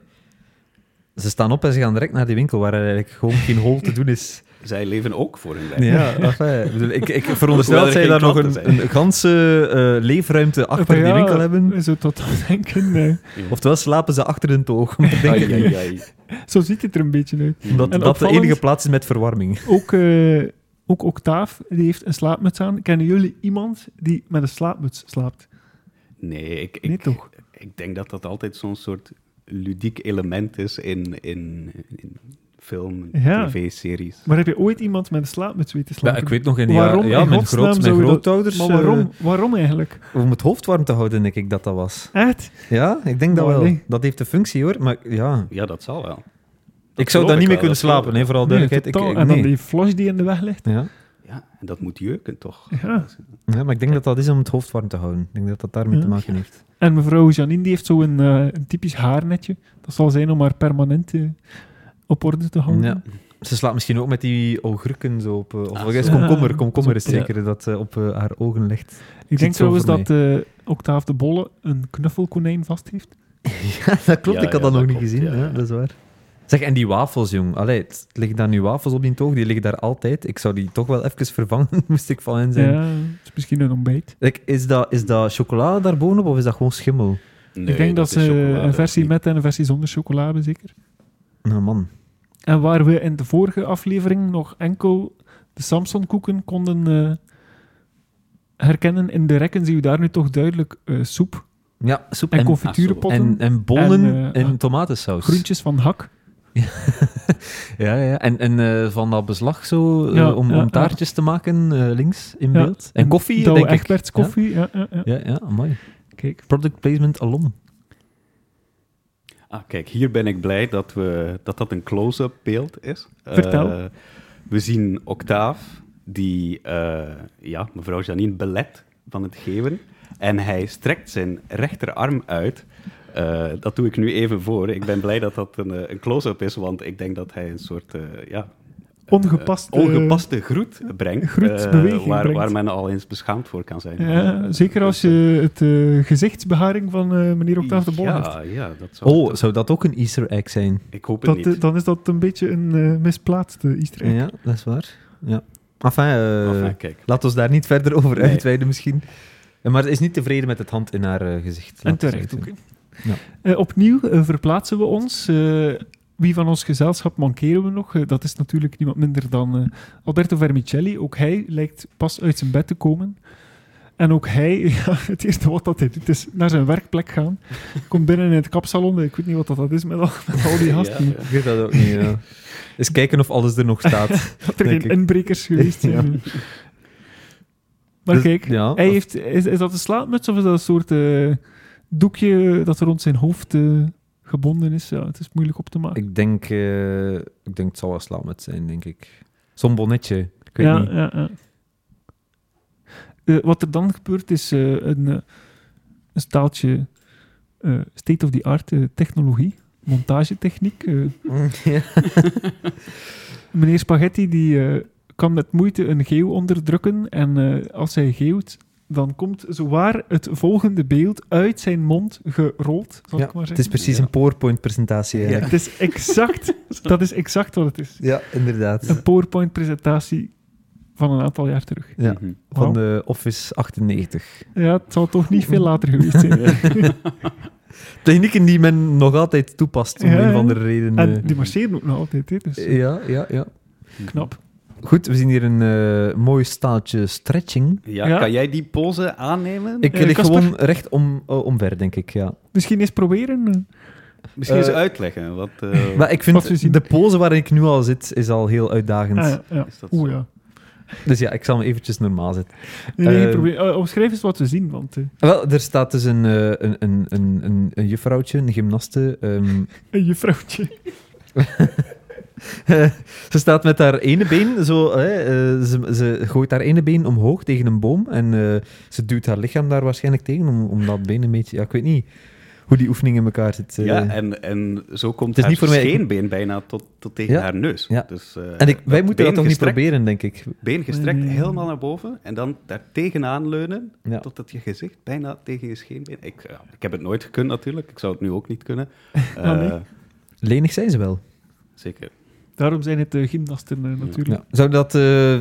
Ze staan op en ze gaan direct naar die winkel waar er eigenlijk gewoon geen hol te doen is.
Zij leven ook voor hun werk.
Ja, enfin, ik, bedoel, ik, ik veronderstel
Hoewel
dat
er geen
zij daar nog
klanten
een, een ganse eh, leefruimte achter
Ja,
die winkel hebben.
Zo tot dat denken. eh. nee.
Oftewel slapen ze achter hun toog. maar ik denk het
Ai,
niet.
ai, ai.
zo ziet het er een beetje uit.
Dat,
En
dat de
opvallend-
enige plaats is met verwarming.
Ook, eh, ook Octaaf, die heeft een slaapmuts aan. Kennen jullie iemand die met een slaapmuts slaapt?
Nee, ik,
Nee,
ik,
toch?
ik denk dat dat altijd zo'n soort ludiek element is in, in, in film,
Ja.
tv-series.
Maar heb je ooit iemand met een slaapmuts weten
Ja,
slapen?
ik weet nog in de
Waarom
jaren- ja,
in
mijn,
godsnaam
groot, mijn
zou je dat-
grootouders...
Maar waarom,
eh,
waarom eigenlijk?
om het hoofd warm te houden, denk ik dat dat was.
Echt?
Ja, ik denk dat
Oh,
wel.
nee.
Dat heeft de functie hoor, maar ja.
Ja, dat zal wel. Dat geloof
Ik zou
wel,
daar niet mee kunnen
dat geloof
slapen, hè, vooral
Nee,
duidelijkheid.
totaal.
ik, ik,
En dan
nee.
die flash die in de weg ligt.
ja.
Ja, en dat moet jeuken, toch?
Ja.
ja, maar ik denk dat dat is om het hoofd warm te houden. Ik denk dat dat daarmee
Ja.
te maken heeft.
En mevrouw Janine die heeft zo'n eh, een typisch haarnetje. Dat zal zijn om haar permanent eh, op orde te houden.
Ja. Ze slaapt misschien ook met die ogurken zo op... eh, Of
Ah,
ah, is
zo.
komkommer,
Ja.
komkommer is
Ja.
zeker dat eh, op eh, haar ogen ligt.
Ik denk
zo voor
trouwens dat eh Octaaf de Bolle een knuffelkonijn vast heeft.
Ja, dat klopt.
Ja,
ik had
ja,
dat nog
dat
niet
klopt,
gezien.
ja,
Ja,
ja.
Dat is waar. Zeg, en die wafels, jong. Allee, het liggen daar nu wafels op die toog? Die liggen daar altijd. Ik zou die toch wel even vervangen, moest ik van hen zijn.
Ja, dat is misschien een ontbijt.
Like, is, dat, is dat chocolade daar bovenop of is dat gewoon schimmel?
Nee,
ik denk dat,
is
ze
chocolade,
een versie
niet-
met en een versie zonder chocolade hebben, zeker.
Nou, man.
En waar we in de vorige aflevering nog enkel de Samsonkoeken konden eh, herkennen in de rekken, zien we daar nu toch duidelijk eh, soep
Ja, soep
en,
en, en,
confituurpotten.
en, dus bonen en,
en, eh,
tomatensaus.
Groentjes van hak.
Ja, ja, ja. En, en eh, van dat beslag zo, eh,
Ja,
om,
ja,
om taartjes te maken, eh, links in
Ja.
beeld. En koffie,
Douwe
denk ik.
Egberts koffie. Ja? Ja, ja,
Ja, ja, mooi.
Kijk.
Product placement alom.
Ah, kijk, hier ben ik blij dat we, dat, dat een close-up beeld is.
Vertel.
Eh, we zien Octaaf, die eh, ja, mevrouw Janine belet van het geven. En hij strekt zijn rechterarm uit. Eh, dat doe ik nu even voor. Ik ben blij dat dat een, eh, een close-up is, want ik denk dat hij een soort eh, ja,
Ongepast,
eh, ongepaste groet brengt. eh,
groetsbeweging
waar,
brengt.
waar men al eens beschaamd voor kan zijn.
eh, Ja, zeker als je het eh, gezichtsbeharing van eh, meneer Octaaf de Bol hebt.
ja, ja, dat zou
Oh, zou dat ook een easter egg zijn?
Ik hoop het
Dat,
niet.
eh, dan is dat een beetje een eh, misplaatste easter egg.
Ja, dat is waar. Ja. Enfin, eh,
Enfin, kijk.
laat ons daar niet verder over
Nee.
uitweiden misschien. Eh, Maar ze is niet tevreden met het hand in haar eh, gezicht.
En
laat ik
terecht
zo
ook.
zeggen.
hè.
Ja.
Eh, opnieuw eh, verplaatsen we ons. Eh, wie van ons gezelschap mankeren we nog? Eh, dat is natuurlijk niemand minder dan eh, Alberto Vermicelli. Ook hij lijkt pas uit zijn bed te komen. En ook hij, ja, het eerste wat dat hij doet, is naar zijn werkplek gaan. Komt binnen in het kapsalon. Ik weet niet wat dat, dat is met al, met al die gasten.
Ja, ja.
Ik weet dat ook niet, ja. Eens kijken of alles er nog staat.
Dat er
Denk
geen
ik.
inbrekers geweest
Ja.
zijn. Maar
Dus,
kijk,
ja,
hij
of-
heeft, is, is dat een slaapmuts of is dat een soort eh, doekje dat rond zijn hoofd eh, gebonden is? Ja, het is moeilijk op te maken.
ik, denk, eh, ik denk het zal wel slaapmuts zijn, denk ik. Zo'n bonnetje. Ik weet
ja,
niet.
ja, ja. Eh, wat er dan gebeurt is eh, een, eh, een staaltje eh, state-of-the-art eh, technologie, montagetechniek. eh.
Mm, Ja.
meneer Spaghetti die, eh, kan met moeite een geeuw onderdrukken en eh, als hij geeuwt, dan komt zowaar het volgende beeld uit zijn mond gerold, zal
Ja,
ik maar
Het
zeggen.
is precies
Ja.
een PowerPoint-presentatie
Ja.
eigenlijk.
Het is exact, dat is exact wat het is.
Ja, inderdaad.
Een PowerPoint-presentatie van een aantal jaar terug.
Ja.
Mhm.
Van de Office 98.
Ja, het zal toch niet veel later geweest zijn.
Technieken die men nog altijd toepast, om
Ja,
een
ja.
of andere reden.
En
eh.
die marcheren ook nog altijd, hè, dus eh,
Ja, ja, ja.
knap.
Goed, we zien hier een eh, mooi staaltje stretching.
Ja,
Ja.
kan jij die pose aannemen?
Ik
Eh,
lig
Casper?
gewoon recht om, eh, omver, denk ik, ja.
Misschien eens proberen. eh.
Misschien eens
Eh,
uitleggen. Wat, eh,
Maar ik
Wat we zien.
vind de pose waar ik nu al zit, is al heel uitdagend.
Ah, ja.
is dat
Oeh
zo?
ja.
Dus ja, ik zal hem eventjes normaal zetten.
Nee, nee,
Eh,
probeer, eh, omschrijf eens wat we zien, want eh,
Wel, er staat dus een, eh, een, een, een, een, een juffrouwtje, een gymnaste. ehm,
een juffrouwtje.
ze staat met haar ene been, zo, hè, eh, ze, ze gooit haar ene been omhoog tegen een boom en eh, ze duwt haar lichaam daar waarschijnlijk tegen om, om dat been een beetje... Ja, ik weet niet hoe die oefening in elkaar zit. eh.
ja, en, en zo komt
is
haar
niet voor mij-
scheenbeen bijna tot, tot tegen
Ja.
haar neus.
Ja.
Dus, eh,
en ik, wij
been
moeten dat toch niet
gestrekt-
proberen, denk ik.
Been gestrekt,
Nee.
helemaal naar boven. En dan daar tegenaan leunen,
Ja.
totdat je gezicht bijna tegen je scheenbeen... Ik, ja, ik heb het nooit gekund natuurlijk, ik zou het nu ook niet kunnen.
Oh,
Ah, nee.
Eh,
Lenig zijn ze wel.
Zeker.
Daarom zijn het eh, gymnasten eh, natuurlijk.
Ja. Zou dat... eh,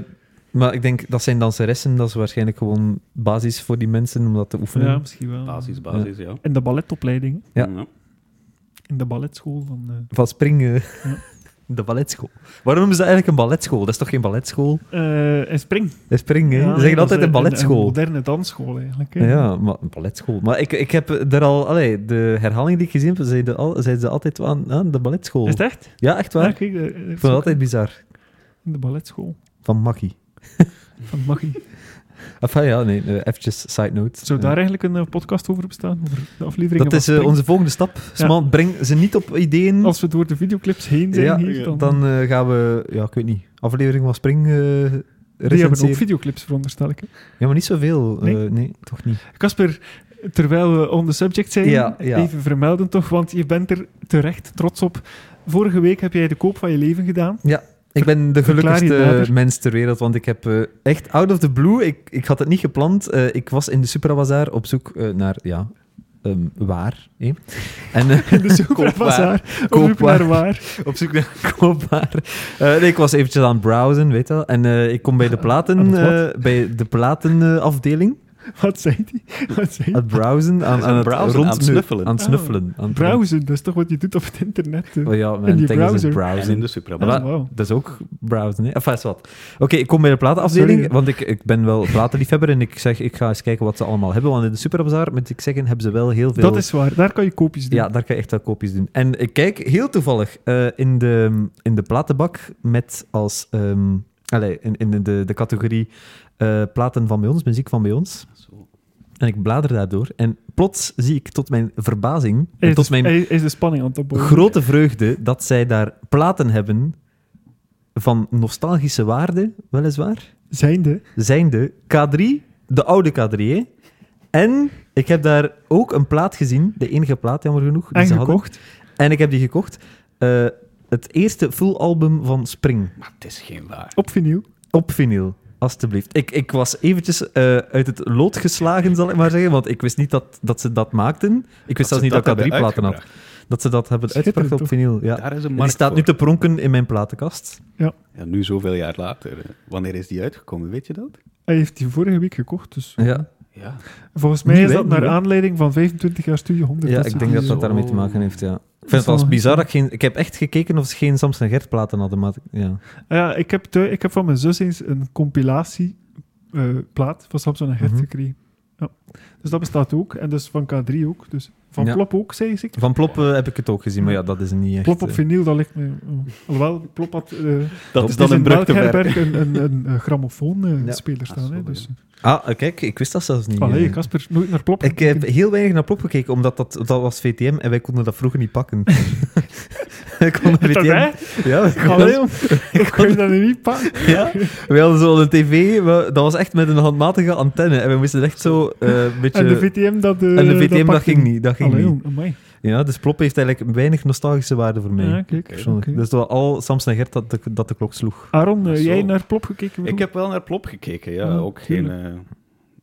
maar ik denk, dat zijn danseressen, dat is waarschijnlijk gewoon basis voor die mensen om dat te
Ja,
oefenen.
misschien wel.
Basis, basis, ja.
In de balletopleiding,
Ja.
in de balletschool van... eh,
Van springen.
Ja.
De balletschool. Waarom is dat eigenlijk een balletschool? Dat is toch geen balletschool?
Eh, en spring.
Dat is spring, hè?
Ja,
Ze zeggen
dat
altijd
is
een balletschool.
moderne dansschool eigenlijk. hè.
Ja, maar een balletschool. Maar ik, ik heb er al... Allee, de herhaling die ik gezien heb, zeiden al- zeiden ze altijd aan, aan de balletschool.
Is het echt?
Ja, echt
Ja,
waar.
kijk, eh,
Ik vond het altijd bizar.
De balletschool
Van Makkie.
van Maggie.
Enfin, ja, nee, eh, eventjes side note.
Zou
Eh,
daar eigenlijk een eh, podcast over bestaan? Over de aflevering
dat is eh, onze volgende stap. Smal, breng ze niet op ideeën.
Als we door de videoclips heen zijn
ja,
hier, dan...
dan eh, gaan we... Ja, ik weet niet. Aflevering van Spring eh
die hebben ook
recenseren.
videoclips, veronderstel ik. hè.
Ja, maar niet zoveel. eh,
Nee?
nee, toch niet.
Casper, terwijl we on the subject zijn,
Ja, ja.
even vermelden toch, want je bent er terecht trots op. Vorige week heb jij de koop van je leven gedaan.
Ik ben de
Verklaar je
gelukkigste
nader.
mens ter wereld, want ik heb eh, echt out of the blue, ik, ik had het niet gepland. eh, ik was in de Suprabazaar op zoek eh, naar, ja, ehm, waar. hè. En, eh,
In de Supra
koopwaar.
Bazaar. Op
Koopwaar.
zoek naar waar.
op zoek naar koopbaar. Eh, nee, ik was eventjes aan het browsen, weet je wel. En eh, ik kom bij de
Aan
platen,
het wat?
eh, bij de platenafdeling.
Wat zei die? Wat zei
aan
die?
het browsen, aan,
Aan
aan het
browsen,
rond-
aan het snuffelen.
Aan het snuffelen. aan het-
Oh. Browsen, dat is toch wat je doet op het internet. hè?
Oh ja,
In
mijn
die
ding is
browser.
het
En
browsen.
in de Supra.
Ah,
Oh,
maar-
wauw.
Dat is ook browsen, hè? Enfin, is wat. Oké, ik kom bij de platenafdeling,
Sorry.
want ik, ik ben wel platenliefhebber en ik zeg, ik ga eens kijken wat ze allemaal hebben. Want in de Superbazaar, moet ik zeggen, hebben ze wel heel veel...
Dat is waar, daar kan je koopjes doen.
Ja, daar kan je echt wel kopies doen. En ik kijk heel toevallig eh, in, de, in de platenbak met als... ehm, allee, in, in de, de, de categorie eh, platen van bij ons, muziek van bij ons.
Zo.
En ik blader daardoor en plots zie ik tot mijn verbazing,
Hij
en
is,
tot mijn
hij is de spanning aan het opbouwen.
grote vreugde dat zij daar platen hebben van nostalgische waarde, weliswaar.
Zijnde.
Zijn de K3, de oude K3. hè. En ik heb daar ook een plaat gezien, de enige plaat jammer genoeg. die
En
ze hadden.
gekocht.
En ik heb die gekocht. Eh, het eerste full album van Spring
Maar het is geen waar.
Op vinyl.
op vinyl. Alsjeblieft. Ik, ik was eventjes eh, uit het lood geslagen, zal ik maar zeggen, want ik wist niet dat, dat ze dat maakten. Ik wist zelfs niet dat ik
hebben
K3 platen had.
uitgebracht.
Dat ze dat hebben
Schitterend,
uitgebracht op
toch?
vinyl. Ja.
Daar is een
Die
markt
staat nu
voor.
te pronken in mijn platenkast.
Ja, nu zoveel jaar later. eh, Wanneer is die uitgekomen, weet je dat?
Hij heeft die vorige week gekocht, dus...
Ja,
Ja.
Volgens mij
Nieuw,
is
hè?
dat naar
Nieuw, hè?
aanleiding van 25 jaar Studio 100.
ja
Dus is
ik denk dat dat
sowieso.
daarmee te maken heeft, ja. Ik
Dat
vind
is
het
wel
als bizar
goed.
dat ik geen... Ik heb echt gekeken of ze geen Samson Gert platen hadden, maar... Ja.
Ja, ik heb, thu- ik heb van mijn zus eens een compilatie eh, plaat van Samson en Gert
Mhm.
gekregen. Ja. Dus dat bestaat ook. En dus van K3 ook. Dus van
Ja.
Plop ook, zei ik.
Van Plop eh, heb ik het ook gezien, maar ja, dat is niet echt...
Plop op
eh,
vinyl, dat ligt me... oh. Alhoewel, Plop had... eh,
Dat is
is
het
dan een
in
brug te
Melkherberg
werken.
een, een, een,
Ja.
grammofoonspeler
Ah,
staan. hè,
zo,
dus.
Ah, eh, kijk, ik wist dat zelfs niet.
Allee,
eh.
Casper, nooit naar Plop.
ik heb
gekeken.
heel weinig naar Plop gekeken, omdat dat, dat was VTM en wij konden dat vroeger niet pakken. ik kon
Toch, hè?
VTM... Ja, ik kon-
Allee, jong. Kun je dat nu niet pakken?
Ja, we hadden zo'n tv, we- dat was echt met een handmatige antenne. En we moesten echt zo eh, een beetje...
En de VTM, dat, eh,
en de VTM, dat
pakte
ging niet. Dat ging
Allee,
niet.
jong, amai.
Ja, dus Plop heeft eigenlijk weinig nostalgische waarde voor mij.
Ja, kijk.
persoonlijk.
oké.
Dus dat al Samson en Gert dat de, dat de klok sloeg.
Aaron, eh,
Zo.
jij naar Plop gekeken?
Ik heb wel naar Plop gekeken, ja.
Ja,
ook geen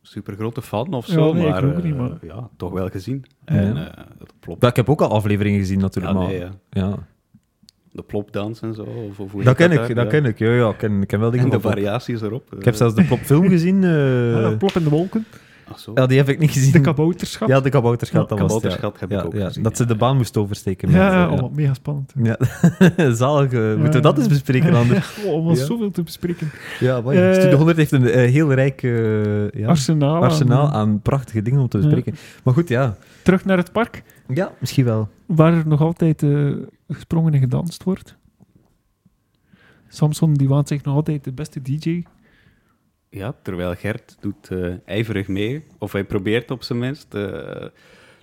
super grote fan of
Ja,
zo,
nee, ik
maar,
ook
eh,
niet, maar-
ja, toch wel gezien. En
Ja.
eh, dat Plop...
Dat, ik heb ook al afleveringen gezien
ja,
natuurlijk. maar-
nee, ja.
ja.
De plopdans en zo. Of, of hoe
Dat
heet
ken ik,
daar?
dat
Ja.
ken ik. Ja, ja, ik ken, ik ken wel dingen
En de
van Plop.
variaties erop. eh,
Ik heb zelfs de Plopfilm gezien. eh.
Ah, Plop in de wolken,
Ach ah, zo.
ja, die heb ik niet gezien.
de kabouterschap.
ja, de kabouterschat.
Ja,
dat was het,
kabouterschat heb
ja.
ik
Ja,
ook
ja,
gezien, ja.
Dat ze de baan moest oversteken.
Ja,
met, eh,
ja, oh, mega spannend.
ja. Zalig. eh, Moeten
Ja.
we dat eens bespreken, Ander?
Oh, om was
Ja.
zoveel te bespreken.
Ja, man.
Eh,
Studio 100 heeft een eh, heel rijk eh, ja,
Arsenaal.
arsenaal aan prachtige dingen om te
Ja.
bespreken. Maar goed, ja.
Terug naar het park,
Ja, misschien wel.
waar er nog altijd eh, gesprongen en gedanst wordt. Samson die waant zich nog altijd de beste DJ.
Ja, terwijl Gert doet eh, ijverig mee. Of hij probeert op zijn minst. eh,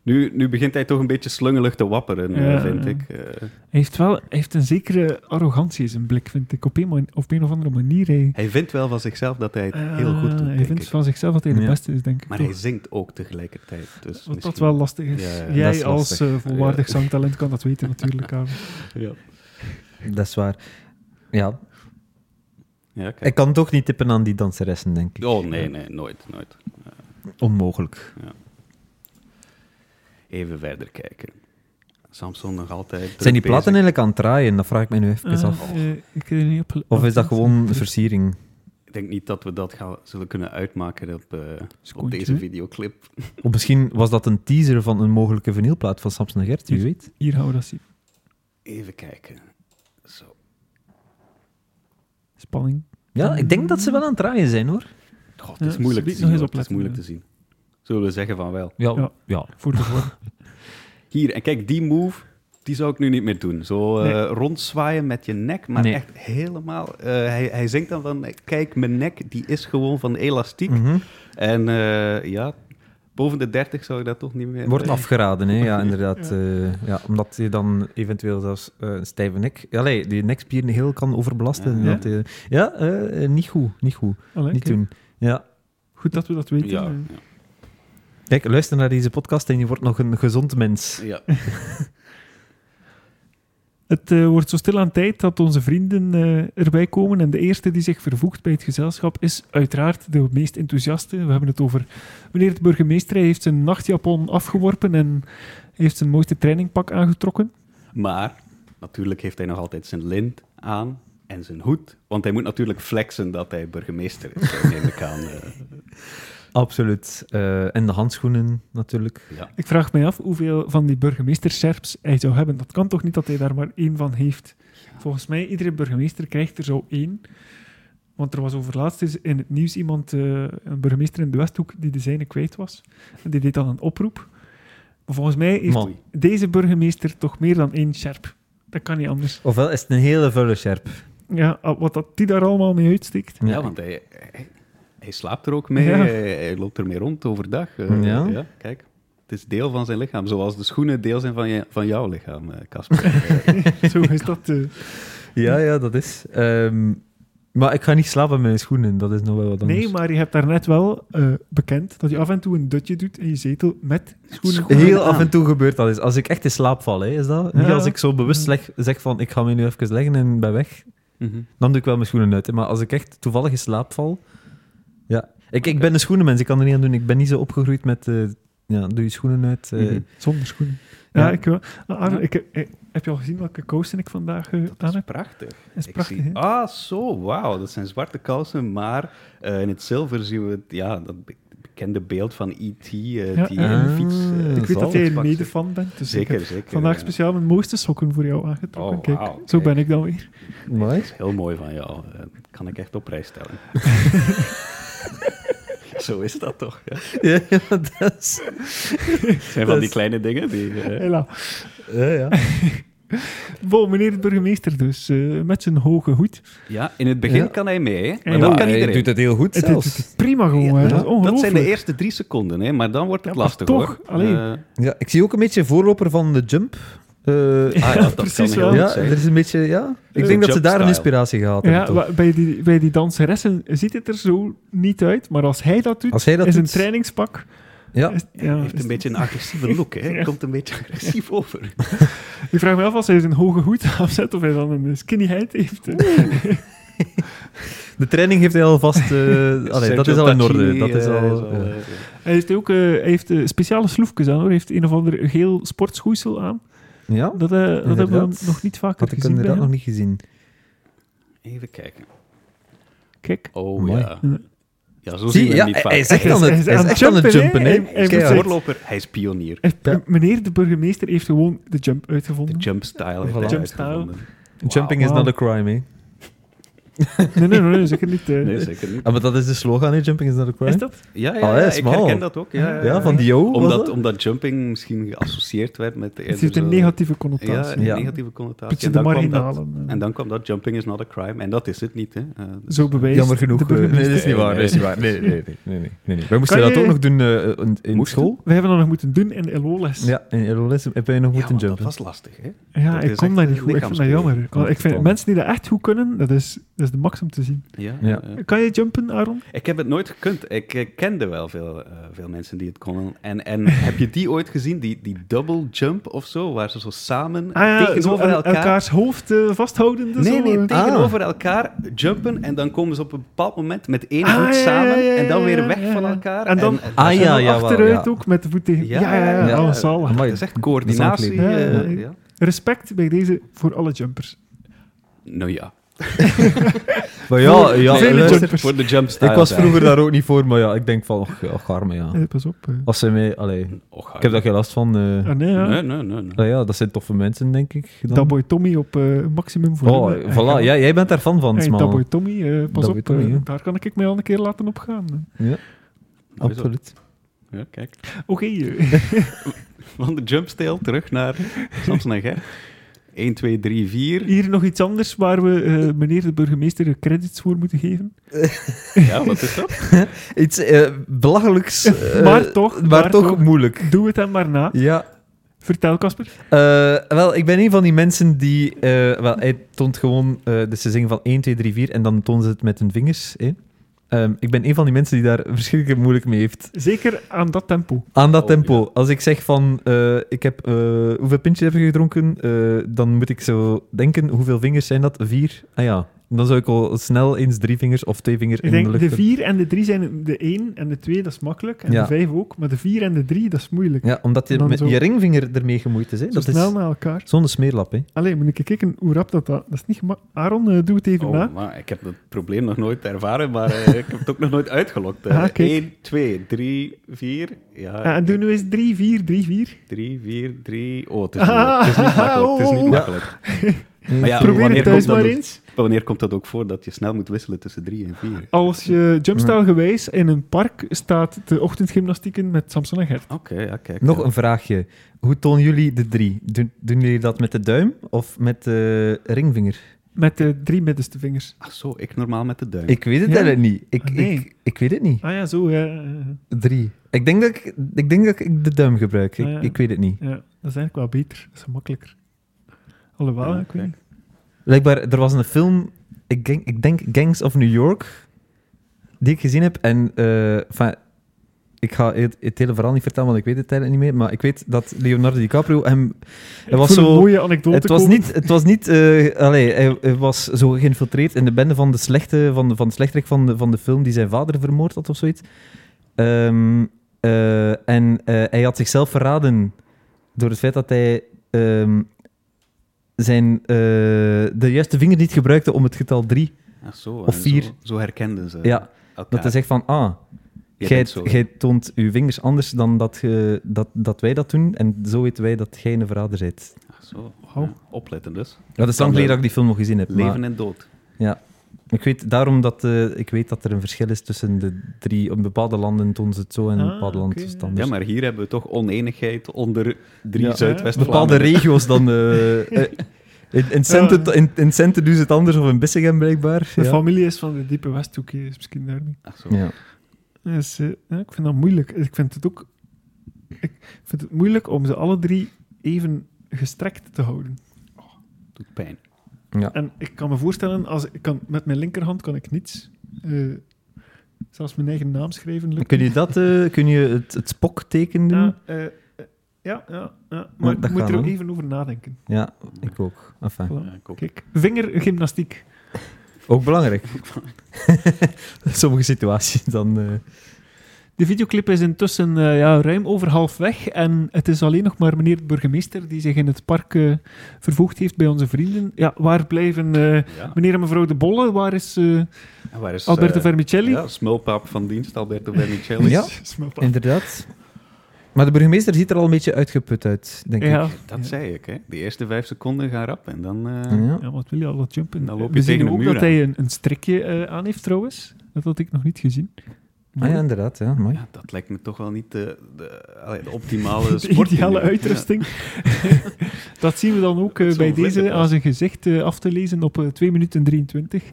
nu, nu begint hij toch een beetje slungelig te wapperen, eh,
Ja,
vind
ja.
ik. Eh,
Hij heeft wel hij heeft een zekere arrogantie in zijn blik, vind ik. Op een, man- op een of andere manier. Hij,
hij vindt wel van zichzelf dat hij het heel goed
Ah,
doet,
Hij
denk
vindt
ik.
van zichzelf dat hij de
Ja.
beste is, denk ik.
Maar
toch?
hij zingt ook tegelijkertijd. Dus
Wat dat
misschien-
wel lastig is.
Ja, ja,
Jij
dat is
als
lastig.
eh, volwaardig zangtalent kan dat weten natuurlijk. Aaron.
Ja.
Dat is waar. Ja,
Ja, kijk.
ik kan toch niet tippen aan die danseressen, denk ik.
Oh, nee, nee, nooit, nooit.
Onmogelijk.
Even verder kijken. Samson nog altijd... druk
Zijn die platen
bezig.
eigenlijk aan het draaien? Dat vraag ik mij nu even
Eh,
af.
eh, ik weet er niet op.
Of is Ah. dat gewoon versiering?
Ik denk niet dat we dat gaan, zullen kunnen uitmaken op, eh, op
Secondje,
deze
hè?
videoclip.
Of misschien was dat een teaser van een mogelijke vinylplaat van Samson en Gert, wie weet.
Hier houden we dat zien.
Even kijken. Zo.
Spanning.
Ja, ik denk dat ze wel aan het draaien zijn, hoor.
God,
Ja,
het is moeilijk te
subiet
zien.
nog eens
hoor. Het is
opletten,
moeilijk
ja.
te zien. Zullen we zeggen van wel.
Ja,
Ja.
ja.
Voor de vorm.
Hier, en kijk, die move, die zou ik nu niet meer doen. Zo eh,
Nee.
rondzwaaien met je nek, maar
Nee.
echt helemaal... eh, hij, hij zingt dan van, eh, kijk, mijn nek, die is gewoon van elastiek.
Mhm.
En eh, ja, boven de 30 zou ik dat toch niet meer...
Wordt
eh,
afgeraden, hè? ja, inderdaad.
Ja.
eh, ja, omdat je dan eventueel zelfs eh, een stijve nek... Allee, die nekspieren heel kan overbelasten.
Ja.
Ja, dat, eh, ja eh, eh, niet goed, niet goed.
Allee,
Niet
kijk,
doen. Ja.
Goed dat we dat weten.
Ja,
Eh,
Kijk, luister naar deze podcast en je wordt nog een gezond mens.
ja.
Het eh, wordt zo stil aan tijd dat onze vrienden eh, erbij komen. En de eerste die zich vervoegt bij het gezelschap is uiteraard de meest enthousiaste. We hebben het over meneer de burgemeester. Hij heeft zijn nachtjapon afgeworpen en heeft zijn mooiste trainingpak aangetrokken.
Maar natuurlijk heeft hij nog altijd zijn lint aan en zijn hoed. Want hij moet natuurlijk flexen dat hij burgemeester is, neem ik aan. eh.
Absoluut. Eh, en de handschoenen, natuurlijk.
ja.
Ik vraag mij af hoeveel van die burgemeester-sherps hij zou hebben. Dat kan toch niet dat hij daar maar één van heeft? Volgens mij, iedere burgemeester krijgt er zo één. Want er was overlaatst eens in het nieuws iemand, eh, een burgemeester in de Westhoek, die de zijne kwijt was. En die deed dan een oproep. Maar volgens mij heeft
Man.
deze burgemeester toch meer dan één sherp. Dat kan niet anders.
Ofwel is het een hele vuile sjerp.
Ja, ah, wat dat die daar allemaal mee uitsteekt.
Ja, want hij, hij, hij slaapt er ook mee,
Ja.
hij, hij loopt ermee rond overdag. Eh,
Ja.
kijk, het is deel van zijn lichaam, zoals de schoenen deel zijn van, je, van jouw lichaam, eh, Casper.
Zo is dat. eh,
Ja, ja, dat is. Ehm, maar ik ga niet slapen met mijn schoenen, dat is nog wel wat anders.
nee, maar je hebt daarnet wel eh, bekend dat je af en toe een dutje doet in je zetel met schoenen.
schoenen.
Heel
aan.
af en toe gebeurt dat eens. Als ik echt in slaap val, hè, is dat? Niet
Ja.
als ik zo
Mm.
bewust leg- zeg van ik ga me nu even leggen en ben weg.
Mhm.
Dan doe ik wel mijn schoenen uit. Hè. Maar als ik echt toevallig in slaap val. Ja. Ik, ik ben een schoenenmens, ik kan er niet aan doen. Ik ben niet zo opgegroeid met. eh, ja, doe je schoenen uit. eh.
Mhm.
Zonder schoenen. Ja,
Ja.
ik wel. Ah, Arno, ik, eh, heb je al gezien welke kousen ik vandaag eh, aan
Dat is
heb?
prachtig.
Dat is
Ik
prachtig,
zie-
hè?
ah, zo, wauw. Dat zijn zwarte kousen, maar eh, in het zilver zien we het, ja, dat be- bekende beeld van E.T., eh,
Ja,
die
ja.
in de fiets... eh,
Ik weet
Ik
dat
zal
jij
zalfpakster.
een mede-fan bent, dus ik
Zeker,
heb
zeker.
vandaag
ja.
speciaal mijn mooiste sokken voor jou aangetrokken.
Oh,
Kijk,
wauw,
zo
kijk.
ben ik dan weer.
Dat
Mooi.
is heel mooi van jou. Eh, Dat kan ik echt op prijs stellen. Zo is dat toch? ja.
Ja, dat is.
Het zijn
Dat
van
is-
die kleine dingen die... eh,
Hela.
Ja, ja.
Bon, meneer de burgemeester dus, eh, met zijn hoge hoed.
Ja, in het begin
Ja.
kan hij mee, hè.
Ja,
maar dan kan
hij
iedereen.
doet het heel goed
Oh. Het het
zelfs.
is prima gewoon, hè.
Ja,
dat is ongelooflijk.
dat zijn de eerste drie seconden, hè. maar dan wordt het
Ja, maar
lastig,
toch,
hoor.
allee.
Eh,
Ja, ik zie ook een beetje voorloper van de jump. Eh,
ah, ja, dat kan
precies
heel
wel.
goed
ja,
zijn.
er is een beetje. Ja. Ik
Zo'n
denk dat ze daar een
jumpstyle.
inspiratie gehaald hebben.
Ja,
toch?
wa- bij die, bij die danseressen ziet het er zo niet uit, maar als hij dat doet,
Als hij dat
is een
doet-
trainingspak.
Ja.
is- ja,
heeft
is-
een beetje een agressieve look, hè.
Ja.
Komt een beetje agressief over.
Ik vraag me af als hij zijn hoge hoed afzet of hij dan een skinny head heeft. hè.
De training heeft hij alvast. eh allee, dat is al in orde. Dat is
eh,
al, eh, ja.
Hij heeft ook eh, hij heeft, eh, speciale sloefjes aan hoor. Hij heeft een of ander geel sportschoeisel aan.
Ja,
Dat, eh, dat hebben we
Inderdaad.
nog niet vaker
had ik
gezien. bij
inderdaad
hem.
nog niet gezien.
Even kijken.
Kijk.
Oh,
Mooi.
ja. Ja, zo zien we hem
ja,
niet
hij,
vaak.
hij is echt aan
Hij
het,
is-
hij is
hij is
echt aan het jumpen,
hè.
hè.
Hij- hij
Hij is
Keihard.
voorloper, hij is pionier.
Eh,
Ja.
Meneer de burgemeester heeft gewoon de jump
De
uitgevonden.
jump style. heeft hij
Jump style.
uitgevonden.
Jumping is
Wauw.
not a crime, hè.
Nee, nee, nee, nee, zeker niet. eh.
Nee, zeker niet.
Ah, maar dat is de slogan, hè. Jumping is not a crime.
is dat?
Ja, ja,
Ah,
ja,
hij is
ik
smal.
herken dat ook. Ja, ja,
Ja,
ja.
van Dio was
eh, omdat,
dat?
omdat jumping misschien geassocieerd werd met... eerder
Het heeft een
zo-
negatieve
dus, eh, Ja,
connotatie.
een
Ja.
negatieve connotatie.
Beetje
En
de
dan kwam dat-
marginalen. eh.
En dan kwam dat jumping is not a crime. En dat is het niet, hè. Eh, dus-
Zo bewijst
Jammer genoeg.
de
eh, nee, dat
burgemeester.
is niet waar. Dat is niet waar. Nee, nee, nee. nee, nee, nee, nee. Wij moesten
Kan
dat
je-
ook nog doen eh, in, in
Moesten?
school.
We hebben dat nog moeten doen in LO-les.
Ja, in Aerolis heb jij nog
Ja,
moeten
want dat
jumpen.
was lastig, hè.
Ja,
Dat
ik
is
kom
echt eh,
daar
een
niet goed. Ik vind dat
lichaamsproef.
jammer. Want Ik vind,
Totaal.
mensen die dat echt goed kunnen, dat is, dat is de max om te zien.
Ja,
Ja.
eh,
Kan je jumpen, Aaron?
Ik heb het nooit gekund. Ik eh, kende wel veel, eh, veel mensen die het konden. En, en heb je die ooit gezien, die, die double jump of zo, waar ze zo samen
Ah ja,
tegenover
zo el-
elkaar...
elkaars hoofd eh, vasthouden. dus
Nee,
zo, eh.
nee, tegenover elkaar jumpen en dan komen ze op een bepaald moment met één
Ah,
voet
ja, ja,
samen
ja, ja,
en dan weer
ja,
weg
ja,
van
ja.
elkaar.
En dan-
eh,
Ah,
En
ja,
dan
ja, wel,
achteruit
ja.
ook met de voet tegen. Ja, ja, ja.
ja.
oh, zalig.
Amai.
Dat is echt coördinatie.
Ja, ja,
eh,
ja.
ja.
Respect bij deze voor alle jumpers.
Nou ja.
Maar ja, ja
Vele
luister,
jumpers.
Voor de jumpstyle.
ik was vroeger daar ook niet voor, maar ja, ik denk van, och, och arme, ja.
Eh, pas op. eh.
Als ze mij, allee,
Och,
ik heb daar geen last van. eh.
Ah, nee, ja.
Oh, Nee, nee, nee. nee.
Nou ja, dat zijn toffe mensen, denk ik. dan.
Doughboy Tommy op eh, maximum voor.
Oh, voilà, jij, jij bent daar fan van, man.
Doughboy Tommy, eh, pas
Doughboy
op.
Tommy,
eh,
ja.
daar kan ik mij al een keer laten opgaan.
Mooi zo.
Absoluut.
Ja, kijk.
Oké. eh,
Van de jumpstyle terug naar Samson en Gert. 1, 2, 3, 4.
hier nog iets anders waar we eh, meneer de burgemeester credits voor moeten geven.
Ja, wat is dat?
Iets eh, belachelijks. eh,
Maar toch,
Maar,
maar
toch,
toch.
moeilijk.
Doe het hem maar na.
Ja.
Vertel, Casper.
Eh, wel, ik ben een van die mensen die... eh, wel, hij toont gewoon... eh, dus ze zingen van 1, 2, 3, 4 en dan tonen ze het met hun vingers. hè. Ehm, ik ben een van die mensen die daar verschrikkelijk moeilijk mee heeft.
Zeker aan dat tempo.
Aan dat
Oh,
tempo.
ja.
Als ik zeg van, eh, ik heb, eh, hoeveel pintjes heb je gedronken? Eh, dan moet ik zo denken, hoeveel vingers zijn dat? Vier? Ah ja. Dan zou ik al snel eens drie vingers of twee vingers
Ik
in de
denk,
lucht
de
hebben.
4 en de 3 zijn de 1 en de 2, dat is makkelijk. En
Ja.
de 5 ook. Maar de 4 en de 3, dat is moeilijk.
Ja, omdat je
Dan
met
zo.
je ringvinger ermee gemoeid is. Hè?
Zo
Dat
snel
is
naar elkaar.
zo'n smeerlap, hè.
Allee, moet ik kijken hoe rap dat dat... Dat is niet gemakkelijk. Aaron, eh, doe het even na.
Oh, maar ik heb dat probleem nog nooit ervaren, maar eh, ik heb het ook nog nooit uitgelokt. eh.
Ah, kijk.
1, 2, 3, 4.
Ja,
Ja,
Eh, en doe nu eens 3, 4, 3, 4.
3, 4, Oh, het is, niet, het is niet makkelijk. Het is niet
Ah. Oh.
makkelijk. Maar ja,
Probeer
wanneer
het thuis
komt dat
maar
ook?
eens.
Maar wanneer komt dat ook voor dat je snel moet wisselen tussen 3 en 4?
Als je jumpstyle gewijs in een park staat de ochtendgymnastieken met Samson en Gert.
Oké, ja, kijk.
Nog
ja.
een vraagje. Hoe tonen jullie de drie? Doen, doen jullie dat met de duim of met de ringvinger?
Met de drie middenste vingers.
Ach zo, ik normaal met de duim.
Ik weet het
Ja.
eigenlijk niet. Ik,
Ah, nee.
ik, ik weet het niet.
Ah ja, zo. Ja, ja,
Drie. Ik denk dat ik, ik, denk dat ik de duim gebruik. Ik,
Ah, ja.
ik weet het niet.
ja. dat is eigenlijk wel beter. Dat is makkelijker. Alhoewel,
Ja,
ik weet
kijk.
niet.
Blijkbaar, er was een film, ik denk, ik denk Gangs of New York, die ik gezien heb. En eh, enfin, ik ga het, het hele verhaal niet vertellen, want ik weet het eigenlijk niet meer. Maar ik weet dat Leonardo DiCaprio hem...
Ik
Hij was
voel een
zo...
mooie anekdote
Het was
komen.
niet... Het was niet eh, allee, hij, hij was zo geïnfiltreerd in de bende van de slechte... Van, de- van de slechterik van de, van de film die zijn vader vermoord had of zoiets. Ehm, eh, en eh, hij had zichzelf verraden door het feit dat hij... ehm, zijn, eh, de juiste vinger niet gebruikte om het getal 3.
Ach zo,
Of
en
vier.
Zo, zo herkenden ze
Ja, dat hij zegt van, ah, jij, jij toont uw vingers anders dan dat, ge- dat, dat wij dat doen. En zo weten wij dat jij een verrader bent.
Ach zo,
Wauw.
ja, opletten dus.
Ja, dat
Kan
is lang
wel.
geleden dat ik die film nog gezien heb. maar-
Leven en dood.
Ik weet daarom dat eh, ik weet dat er een verschil is tussen de drie. In bepaalde landen doen ze het zo en in
Ah,
bepaalde landen
oké,
is het
ja.
anders.
Ja, maar hier hebben we toch oneenigheid onder drie
Ja.
Zuidwest-Vlaanderen.
Bepaalde regio's dan. eh, eh, in, in, Centen, in, in Centen doen ze het anders of in Bissingen blijkbaar.
De
Ja.
familie is van de diepe Westhoek, hè, is misschien daar niet.
Ach zo.
Ja.
Dus, eh, ja, ik vind dat moeilijk. Ik vind het ook... Ik vind het moeilijk om ze alle drie even gestrekt te houden.
Doet pijn.
En ik kan me voorstellen, als ik kan, met mijn linkerhand kan ik niets. Eh, zelfs mijn eigen naam schrijven lukt
Kun je, dat, eh, kun je het, het spokteken doen?
Ja,
Ja.
eh, eh, ja, ja, ja. maar
dat
ik moet
gaat
er ook
wel.
even over nadenken.
ik ook. Enfin,
Voilà.
Ja, ik ook.
Kijk, vingergymnastiek.
ook belangrijk. Sommige situaties dan. eh,
De videoclip is intussen eh, ja, ruim over half weg en het is alleen nog maar meneer de burgemeester die zich in het park eh, vervoegd heeft bij onze vrienden. Ja, waar blijven eh,
Ja.
meneer en mevrouw De Bolle? Waar is eh,
En waar is,
Alberto
eh,
Vermicelli?
Ja, smulpaap van dienst, Alberto Vermicelli.
Ja.
Smulpaap.
inderdaad. Maar de burgemeester ziet er al een beetje uitgeput uit, denk
Ja.
ik.
Dat
Ja. Mhm.
zei ik, hè. De eerste vijf seconden gaan rap en dan... eh,
Ja.
Ja, wat wil je al wat jumpen?
Dan loop je
We zien
tegen een
ook
muur
dat
aan.
hij een, een strikje eh, aan heeft trouwens. Dat had ik nog niet gezien.
Ah, ja, inderdaad. Ja, mooi.
ja, dat lijkt me toch wel niet de, de, allee, de optimale
de
sport.
ideale uitrusting. dat zien we dan ook eh,
Zo'n
bij deze
vlinderpas.
aan zijn gezicht eh, af te lezen op eh, 2 minuten 23.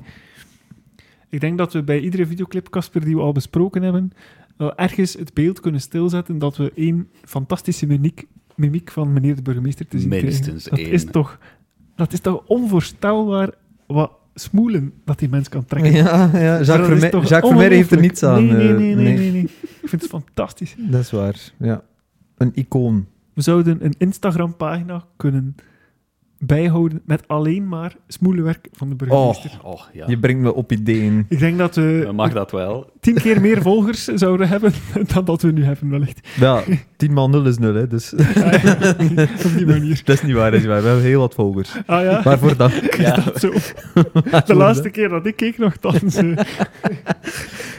Ik denk dat we bij iedere videoclip, Casper, die we al besproken hebben, wel ergens het beeld kunnen stilzetten dat we één fantastische mimiek, mimiek van meneer de burgemeester te zien
Minstens
krijgen. Dat
één.
is toch, dat is toch onvoorstelbaar wat smoelen dat die mens kan trekken.
Ja,
Dus
ja.
Dat is
Jacques, Vermeer,
toch
Jacques Vermeer heeft er niets aan.
ongelooflijk. Nee, nee,
eh,
nee, nee, nee, nee. Ik vind het fantastisch.
Dat is waar, ja. Een icoon.
We zouden een Instagram-pagina kunnen bijhouden met alleen maar smoelenwerk van de burgemeester.
Oh, ja.
Je brengt me op ideeën.
Ik denk dat
Dan
we
mag dat wel.
tien keer meer volgers zouden hebben dan dat we nu hebben, wellicht.
Ja, 10 maal 0 is 0, hè, dus
Ja, ja. Op die manier.
dat is niet waar, dat is niet waar. We hebben heel wat volgers.
Ah ja,
Waarvoor dan?
is dat zo? De laatste keer dat ik keek nogthans. eh,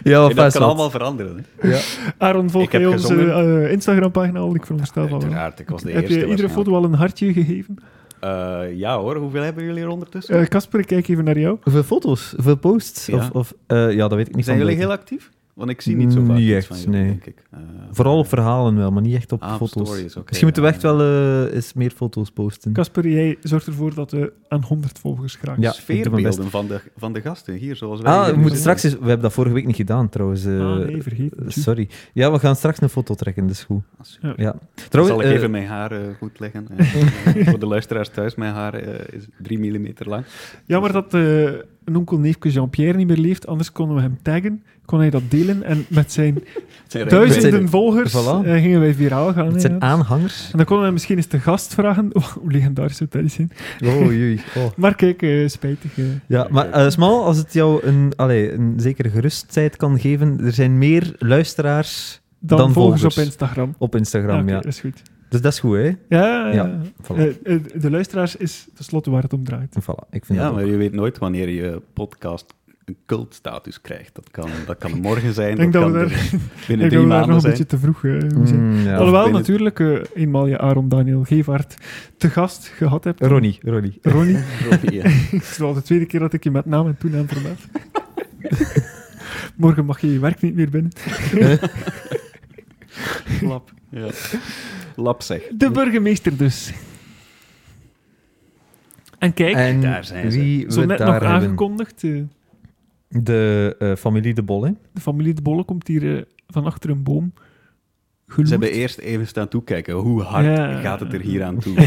Ja,
En
wat
dat
vast
kan allemaal veranderen. Hè?
Aaron, volg
Ik heb
jij onze
gezongen.
eh, Instagram-pagina al? Ik veronderstel van wel.
Uiteraard, ik was de
Heb
eerste.
je iedere foto al een hartje gegeven?
waarschijnlijk. Eh, ja hoor, hoeveel hebben jullie er ondertussen?
Eh, Casper, ik kijk even naar jou.
Hoeveel foto's? Hoeveel posts?
Ja.
Of, of, eh, ja, dat weet ik niet.
Zijn
van
jullie
buiten. Mm,
heel actief? Want ik zie niet zo vaak
Niet
iets
echt,
van jullie,
nee.
denk ik. Eh,
Vooral op verhalen wel, maar niet echt op
Ah, op
foto's.
stories, oké,
Misschien moeten we
ja,
echt wel eh, eens meer foto's posten.
Casper, jij zorgt ervoor dat we aan 100 volgers geraken.
Ja, ik doe mijn
Eh, sfeerbeelden van de, van de gasten hier, zoals wij.
ah,
hier
we moeten
doen.
straks eens... We hebben dat vorige week niet gedaan, trouwens. eh,
ah, nee, vergeet het.
Sorry. Ja, we gaan straks een foto trekken, dus goed.
Ah, super.
Ja.
Ja.
Dan
Trouwens,
zal ik
eh,
even mijn haar eh, goed leggen. eh, voor de luisteraars thuis, mijn haar eh, is 3 mm lang.
Jammer dat eh, een onkel neefje Jean-Pierre niet meer leeft, anders konden we hem taggen, kon hij dat delen en met zijn
Het zijn rijke
duizenden
zijn-
volgers
Voilà.
eh, gingen wij viraal gaan.
het
hè,
zijn
ja.
aanhangers.
En dan konden we hem misschien eens te gast vragen. Oh, hoe legendarisch zou dat zijn.
Oh, jee. Oh.
Maar kijk, eh, spijtig. eh.
Ja, maar eh, Smal, als het jou een, allee, een zekere gerustheid kan geven, er zijn meer luisteraars
dan,
Dan
volgers
volgers.
op Instagram.
op Instagram,
Ja,
ja.
oké, is goed.
Dus dat is goed, hè?
Ja,
Ja,
ja.
Voilà.
Eh, eh, de luisteraars is tenslotte waar het om draait.
Voilà, ik vind
Ja,
dat ook.
maar je weet nooit wanneer je podcast een cultstatus krijgt. Dat kan, dat kan morgen zijn,
Ik denk
dat,
dat we
kan
daar-
binnen- binnen
Ik
drie
denk dat we daar nog
maanden
een
zijn.
beetje te vroeg eh, mee zijn.
Mm, ja.
Alhoewel
binnen-
natuurlijk eh, eenmaal je Aaron Daniel Gevaert te gast gehad hebt.
Ronnie, Ronnie.
Ronnie.
Ja.
Het is al de tweede keer dat ik je met naam en toenaam vermeld. Morgen mag je je werk niet meer binnen. Lap.
Ja. Lap zeg.
De burgemeester dus. En kijk,
En
daar zijn ze.
wie
zo
we
net
daar
nog
hebben.
aangekondigd, eh,
De eh, familie De Bolle.
de familie De Bolle komt hier eh, van achter een boom.
Ze
Geloerd.
hebben eerst even staan toekijken. Hoe hard
Ja.
gaat het er hier aan toe? Eh,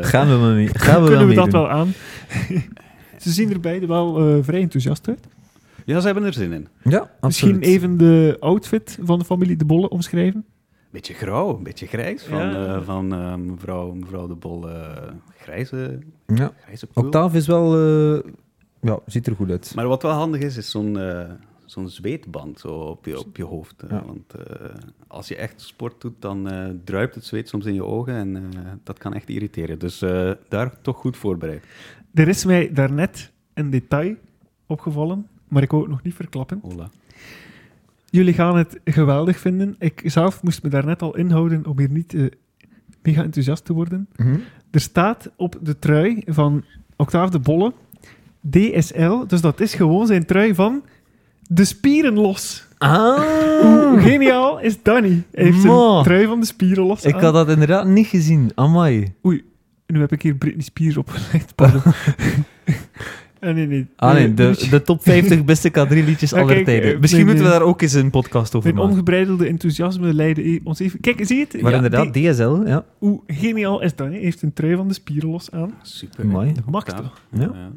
Gaan we wel mee? Gaan we
Kunnen
wel
we dat
meedoen?
wel aan? Ze zien er beide wel eh, vrij enthousiast uit.
ja, ze hebben er zin in.
Ja, absoluut.
Misschien even de outfit van de familie De Bolle omschrijven.
Beetje grauw, een beetje grijs. Van,
Ja.
eh, van eh, mevrouw, mevrouw de Bol, eh, grijze,
Ja.
grijze poel.
Octave is wel... eh, ja, ziet er goed uit.
Maar wat wel handig is, is zo'n eh, zo'n zweetband zo op, je, op je hoofd. eh,
Ja.
Want eh, als je echt sport doet, dan eh, druipt het zweet soms in je ogen en eh, dat kan echt irriteren. Dus eh, daar toch goed voorbereid.
Er is mij daarnet een detail opgevallen, maar ik wou het nog niet verklappen.
Hola.
Jullie gaan het geweldig vinden. Ik zelf moest me daarnet al inhouden om hier niet eh, mega enthousiast te worden.
Mhm.
Er staat op de trui van Octave de Bolle DSL, dus dat is gewoon zijn trui van De Spieren Los. Hoe
Ah!
geniaal is Danny? Hij heeft
Ma.
zijn trui van De Spieren Los
Ik
aan.
had dat inderdaad niet gezien. Amai.
Nu heb ik hier Britney Spears opgelegd, pardon. Ah, nee, nee.
Ah nee, de,
Liedje-
de top 50 beste K3-liedjes
Maar
aller
kijk,
tijden.
eh,
Misschien
mijn,
moeten
eh,
we daar ook eens een podcast over
Mijn
maken.
ongebreidelde enthousiasme leidde e- ons even... Kijk, zie je het?
Maar
Ja,
inderdaad,
die-
DSL, ja.
hoe geniaal is dat? hè? Hij heeft een trui van de spieren los aan.
Super.
Mooi.
Mag
Octaaf.
toch?
Ja.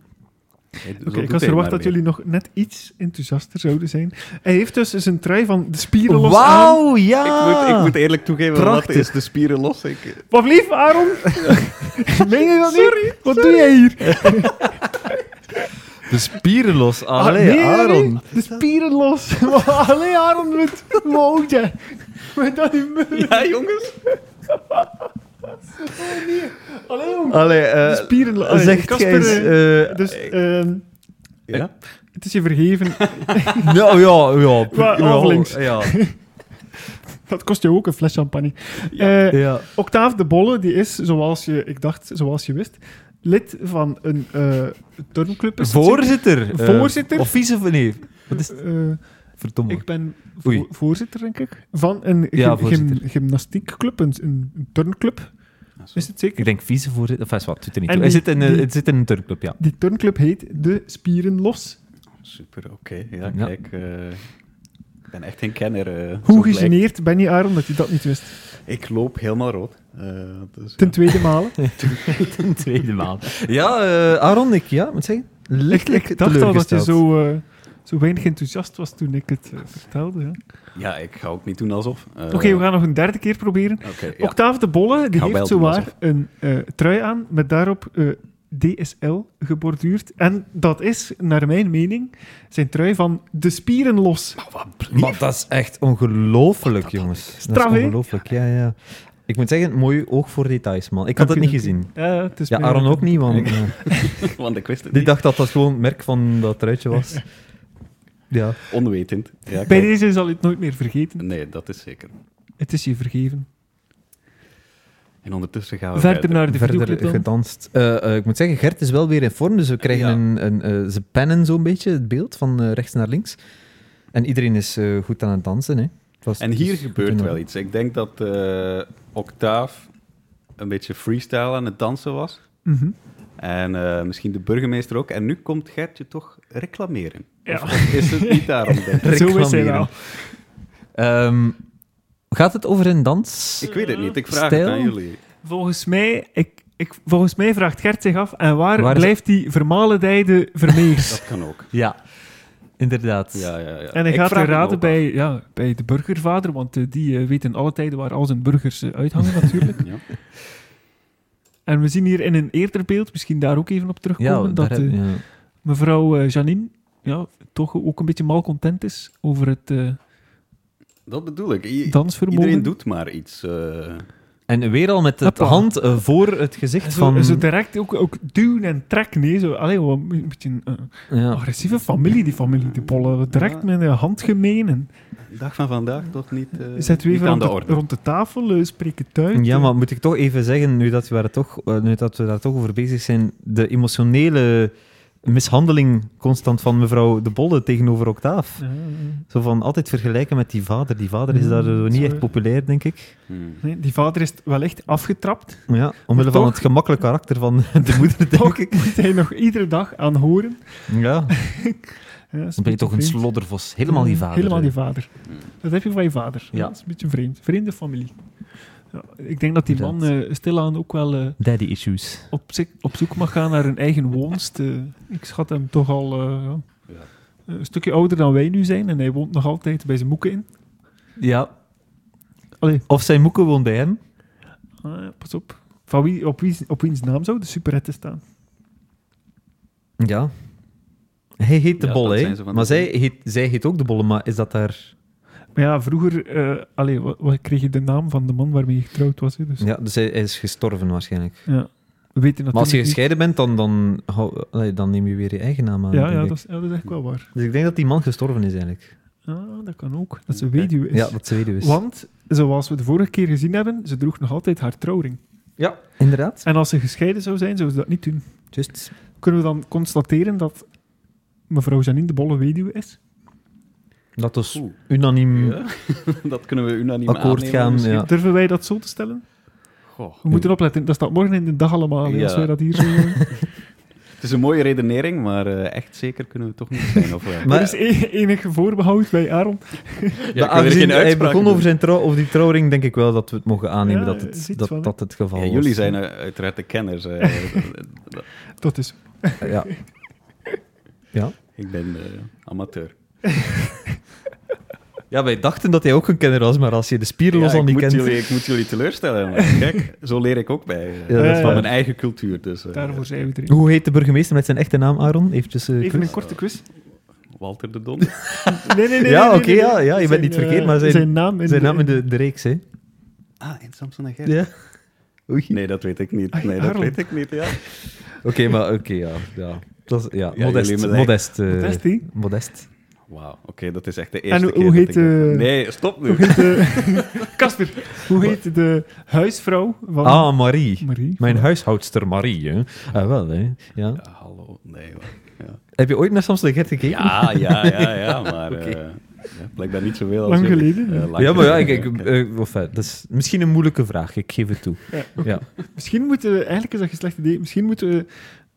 Oké, ik had verwacht dat jullie nog net iets enthousiaster zouden zijn. Hij heeft dus zijn trui van de spieren los aan.
Wauw,
Ik,
ja!
moet,
Ah.
ik moet eerlijk toegeven,
Prachtig.
wat is de spieren los? Ik,
Wat lief, Aaron! Meen je dat niet?
Sorry,
Wat doe jij hier?
De spieren los.
Ah,
Allee,
nee, nee, nee.
Aaron.
De spieren los. Allee, Aaron, met wow, ja. Met dat die muur.
ja, jongens.
Allee, jong.
Allee, eh,
De spieren los. Allee,
zegt
Casper,
jij eens...
eh,
eh,
Dus, ehm,
Ja?
het is je vergeven.
Ja, ja, ja.
Waar-
ja,
aflinks.
Ja,
Dat kost jou ook een fles champagne. Eh,
ja.
Octaaf de Bolle, die is, zoals je, ik dacht, zoals je wist, lid van een eh turnclub. is het
Voorzitter. eh,
Voorzitter?
of vice... Nee, wat is het?
zeker? Eh,
Verdomme.
ik ben vo-
Oei.
voorzitter, denk ik, van een
Ja,
gym- gym-
voorzitter.
gymnastiekclub, een, een, een turnclub, is het zeker?
Ik denk vicevoorzitter. Enfin, wat, doet er niet
En
toe. Hij
die-
zit in, eh,
die-
het zit in een turnclub, ja.
Die turnclub heet De Spieren Los.
Super, oké. Ja,
Ja.
kijk. eh, ik ben echt geen kenner. eh, zo
Hoe
blijkt.
gegeneerd ben je, Aaron, dat je dat niet wist?
Ik loop helemaal rood. Eh, dus,
Ten
ja.
tweede malen.
Een tweede maal. Ja, eh, Aaron, ik ja, moet zeggen.
ik,
Lichtelijk
ik dacht al dat je
teleurgesteld.
zo, eh, zo weinig enthousiast was toen ik het eh, vertelde. ja.
Ja, ik ga ook niet doen alsof. Eh,
Oké, we gaan nog een derde keer proberen.
oké, ja.
Octave de Bolle die
Ga wel
heeft
doen
zowaar
alsof.
een eh, trui aan met daarop eh, DSL geborduurd. En dat is, naar mijn mening, zijn trui van de spieren los.
Maar dat is echt ongelooflijk, jongens.
Straf,
dat
hè?
is ongelooflijk, ja, ja. Ik moet zeggen, mooi oog voor details, man. Ik had het niet gezien.
Ja, het is
Ja,
mij-
Aaron ook niet, want ja.
Want ik wist het
die
niet.
dacht dat dat gewoon het merk van dat truitje was. Ja.
Onwetend. Ja,
Bij
kijk.
deze zal je het nooit meer vergeten.
Nee, dat is zeker.
Het is je vergeven.
En ondertussen gaan we
Verder naar de videoclip
verder
dan.
gedanst. Eh, eh, ik moet zeggen, Gert is wel weer in vorm, dus we krijgen
Ja.
een, een, eh, ze pennen zo'n beetje het beeld van eh, rechts naar links. En iedereen is eh, goed aan het dansen. Hè. Het was-
En hier
Dus-
het is goed
gebeurt
in
wel
orde.
iets. Ik denk dat eh Octaaf een beetje freestyle aan het dansen was.
Mhm.
En eh, misschien de burgemeester ook. En nu komt Gertje toch reclameren.
Ja.
Of is het niet daarom, denk ik?
Zo is hij
Reclameren.
wel.
Ehm, gaat het over een dans?
Ik weet het niet, ik vraag
Stijl?
het aan jullie.
Volgens mij, ik, ik, volgens mij vraagt Gert zich af, en waar,
Waar is-
blijft die vermalendijde Vermeers?
Dat kan ook.
Ja, inderdaad.
Ja, ja, ja.
en hij
Ik
gaat
vraag me
raden
ook
bij, ja, bij de burgervader, want eh, die eh, weet in alle tijden waar al zijn burgers eh, uithangen natuurlijk.
af. Ja.
En we zien hier in een eerder beeld, misschien daar ook even op
Ja,
terugkomen,
daar
dat
heb-
eh,
ja.
mevrouw eh, Janine ja, toch ook een beetje malcontent is over het eh,
Dat bedoel ik. I-
dansvermogen.
iedereen doet maar iets. eh.
En weer al met de
Hoppa.
hand eh, voor het gezicht
En zo,
van...
zo direct ook, ook duwen en trekken. Nee, zo, allee, wat een beetje een eh,
ja.
agressieve familie, die familie. Die pollen direct
Ja.
met de hand gemeen. En
dag van vandaag toch niet, eh,
zet we
niet
even
aan
rond
de
de,
orde.
rond de tafel, eh, spreken het uit.
ja, maar moet ik toch even zeggen, nu dat we daar toch, eh, nu dat we daar toch over bezig zijn, de emotionele mishandeling constant van mevrouw De Bolle tegenover Octaaf.
Ja, ja, ja.
Zo van altijd vergelijken met die vader. Die vader is
Ja,
daar zo
dat is
niet echt
waar.
populair, denk ik.
Hmm.
Nee, die vader is wel echt afgetrapt.
Maar ja, omwille van
toch-
het gemakkelijk karakter van de moeder, denk
Toch
ik.
moet hij nog iedere dag aan horen.
Ja,
Ja, dat is
dan ben je toch een
beetje vreemd.
sloddervos. Helemaal die vader.
Mm, Helemaal die
hè.
vader.
Hmm.
Dat heb je van je vader.
Ja.
Dat is een beetje vreemd. Vreemde familie. Ja, ik denk dat die man
Inderdaad.
eh stilaan ook wel eh,
Daddy issues.
op, zik- op zoek mag gaan naar een eigen woonst. eh. ik schat hem toch al eh, ja,
Ja.
een stukje ouder dan wij nu zijn. En hij woont nog altijd bij zijn moeken in.
Ja.
Allee.
Of zijn moeke woont bij hem.
Ah, ja, pas op. Van wie, op, wie, op wiens naam zou de superette staan?
Ja. Hij heet de
Ja,
Bolle,
dat
hè.
zijn ze van de
Maar zij heet, zij heet ook de Bolle, maar is dat daar...
Maar ja, vroeger eh, allee, wa- wa- kreeg je de naam van de man waarmee je getrouwd was. hè, Dus, ja.
Ja, dus hij, hij is gestorven waarschijnlijk.
We weten natuurlijk
Maar als je
niet-
gescheiden bent, dan, dan, hou- allee, dan neem je weer je eigen naam aan.
Ja,
denk
ja,
ik.
dat is, ja, dat is echt wel waar.
Dus ik denk dat die man gestorven is eigenlijk.
Ah, dat kan ook. Dat ze
Oké.
weduwe is.
Ja, dat ze dus. weduwe is.
Want, zoals we de vorige keer gezien hebben, ze droeg nog altijd haar trouwring.
Ja, inderdaad.
En als ze gescheiden zou zijn, zou ze dat niet doen.
Just.
Kunnen we dan constateren dat mevrouw Janine de Bolle weduwe is?
Dat is
Oeh.
unaniem.
Ja. dat kunnen we unaniem
Akkoord
aannemen
gaan,
misschien.
ja.
Durven wij dat zo te stellen?
Goh.
We moeten opletten, dat staat morgen in de dag allemaal, hè, als
Ja.
wij dat hier zo doen.
Het is een mooie redenering, maar eh, echt zeker kunnen we toch niet zijn. Of, eh? wel?
Maar-
Er is e- enig voorbehoud bij Aaron.
Ja, ik wil
Maar
er
aangezien
geen
hij
uitspraak in
begon
doen.
over, zijn trouw, over die trouwring, denk ik wel dat we het mogen aannemen
Ja,
dat,
is iets
het, dat,
van, hè?
dat het geval
Ja,
was.
jullie zijn eh, uiteraard de kenners. eh, dat-
Dat is...
Eh, Ja. Ja.
ik ben eh, amateur.
ja, wij dachten dat hij ook een kenner was, maar als je de spieren los
Ja,
al
ik,
niet
moet
kent...
jullie, ik moet jullie teleurstellen. maar kijk, zo leer ik ook bij. eh,
Ja,
dat is
van
waar.
mijn eigen cultuur. Dus, eh,
Daarvoor zijn we er.
Hoe heet de burgemeester met zijn echte naam, Aaron? Eventjes, eh,
Even
quiz.
een korte quiz.
Walter de Don.
Nee, nee, nee. nee,
Ja,
nee,
oké,
nee, nee.
ja, ja, je bent niet
Zijn,
verkeerd,
eh,
maar zijn-
naam in
Zijn
de-
naam in de, de reeks, hè?
ah, en Samson en Gert.
Ja. Oei.
Nee, dat weet ik niet.
Ah,
Nee, dat
Harold.
weet ik niet, ja.
Oké, maar oké, ja. ja. Dat is, ja,
Ja,
modest.
jullie met-
Modest. eh,
Modest, hè?
modest.
Wauw, oké, dat is echt de eerste
hoe-
keer
hoe
dat
heet,
ik dat-
eh,
Nee, stop nu.
Hoe heet de... Kasper, hoe heet de huisvrouw van
Ah, Marie.
Marie?
Mijn huishoudster Marie, hè. Ah, wel, hè. Ja.
Ja, hallo, nee. hoor. Ja.
Heb je ooit naar Samson en Gert gekeken?
Ja, ja, ja, ja, maar
Oké.
eh, ja, blijkbaar niet zoveel als
Lang
jullie.
geleden.
Eh, lang
Ja, maar ja, ik,
geleden,
ik,
oké.
eh, enfin, dat is misschien een moeilijke vraag, ik geef het toe.
Ja,
Ja.
Misschien moeten we, eigenlijk is dat een slecht idee, misschien moeten we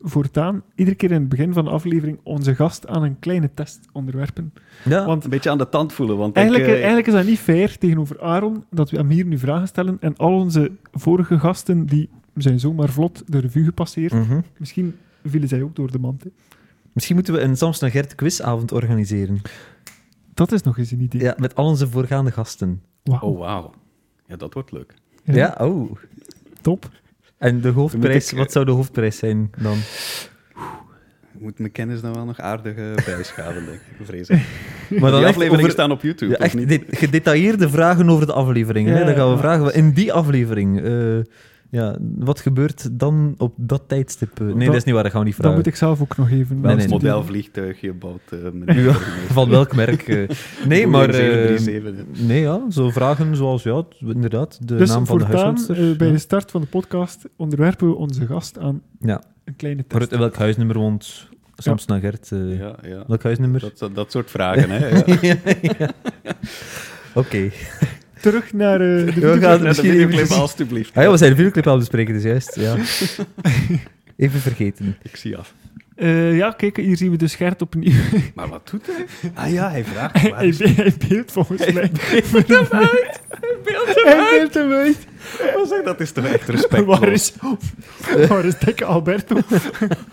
voortaan iedere keer in het begin van de aflevering onze gast aan een kleine test onderwerpen.
Ja.
Want
Een beetje aan de tand voelen, want
eigenlijk,
ik, eh,
eigenlijk is dat niet fair tegenover Aaron dat we hem hier nu vragen stellen en al onze vorige gasten die zijn zomaar vlot de revue gepasseerd.
Mm.
Mhm.
Misschien vielen zij ook door de mand. hè.
Misschien moeten we een Samson en Gert quizavond organiseren.
Dat is nog eens een idee.
Ja, met al onze voorgaande gasten.
Wauw.
Oh, wauw. Oh, Ja, dat wordt leuk.
Ja, oh.
Top.
En de hoofdprijs,
Moet ik,
wat zou de hoofdprijs zijn dan?
Ik moet mijn kennis dan wel nog aardig eh, bijschaven, denk ik. Vrees ik.
Maar dan
die
echt
afleveringen
over-
staan op YouTube,
Ja,
of
echt
niet?
dit- gedetailleerde vragen over de aflevering.
Ja,
hè? Dan gaan we
ja.
vragen, in die aflevering, eh, ja, wat gebeurt dan op dat tijdstip? eh? Nee,
Dat-
dat, is niet waar, dat gaan we niet
Dat
vragen.
moet ik zelf ook nog even.
Nee, nee, nee.
Eh, Model vliegtuigje bouwt... eh, met-
Ja, Van welk merk? eh? nee,
Boeing
maar... eh,
737,
nee, ja, zo vragen zoals, ja, t- inderdaad, de
Dus
naam van de
voortaan,
huishoudster.
eh, bij
Ja.
de start van de podcast onderwerpen we onze gast aan
Ja.
een kleine
Maar
test.
uit welk huisnummer woont Samson en Gert? eh,
Ja, ja.
Welk huisnummer?
Dat, dat, dat soort vragen, hè. Ja.
Ja, ja. Oké.
Terug naar eh, de
gaan
videoclip.
Naar de
misschien
videoclip,
even-
alstublieft.
Ah ja, we zijn de videoclip al bespreken, dus juist. Ja. Even vergeten.
Ik zie af.
Eh, ja, kijk, hier zien we dus Gert opnieuw.
Maar wat doet hij? Ah ja, hij vraagt
Hij-
waar
hij,
is-
be- hij beeldt volgens mij.
Hij heeft hem uit.
Maar zeg, dat is toch echt respect.
Waar is, waar is dikke Alberto?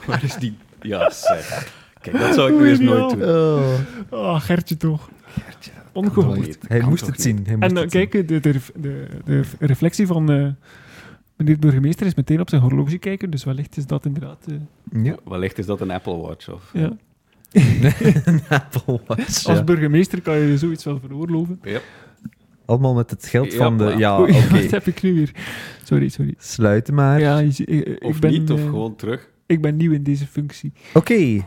Waar is die... Ja, zeg. Kijk, dat zou ik nu eens nooit doen.
Oh.
Oh, Gertje toch.
Toch
Ongehoord.
niet.
Hij
Kan
moest
toch
het
niet?
zien. Hij moest
En dan
het zien.
kijk, de, de, de, de reflectie van eh, meneer de burgemeester is meteen op zijn horloge kijken, dus wellicht is dat inderdaad... eh,
Ja.
Wellicht is dat een Apple Watch of...
ja.
Een Apple Watch.
Als
ja.
burgemeester kan je je zoiets wel veroorloven.
Ja.
Allemaal met het geld
Ja,
van de...
maar-
Ja,
Oei,
Ah, oké.
wat heb ik nu weer? Sorry, sorry.
Sluiten maar.
Ja, je zie- ik, ik
Of
ben,
niet, of
eh,
gewoon terug.
Ik ben nieuw in deze functie.
Oké.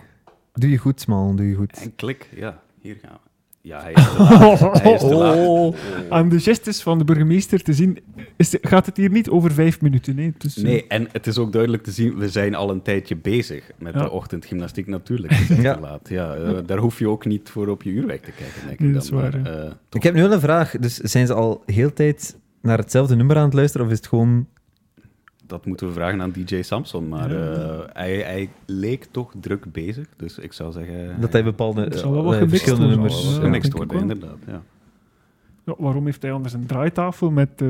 Doe je goed, man. Doe je goed.
En klik, ja, hier gaan we. Ja, hij is te laat. Hij is te laat.
Oh. Aan de gestes van de burgemeester te zien, is, gaat het hier niet over vijf minuten. Nee, dus, eh,
Nee, en het is ook duidelijk te zien, we zijn al een tijdje bezig met
Ja.
de ochtendgymnastiek natuurlijk. Het is echt
Ja.
te laat. Ja, eh, daar hoef je ook niet voor op je uurwerk te kijken, denk ik
Nee,
dan.
dat is waar,
Maar, eh,
Ik heb nu wel een vraag. Dus zijn ze al heel de tijd naar hetzelfde nummer aan het luisteren? Of is het gewoon...
dat moeten we vragen aan DJ Samson, maar eh, hij, hij leek toch druk bezig. Dus ik zou zeggen...
Dat hij bepaalde...
Het zal wel wat
eh,
gemixt
verschillende
worden,
nummers
nummers...
zal wel wat
ja.
gemixt
gemixt
denk
worden,
ik wel.
inderdaad. Ja.
ja, waarom heeft hij anders een draaitafel met eh,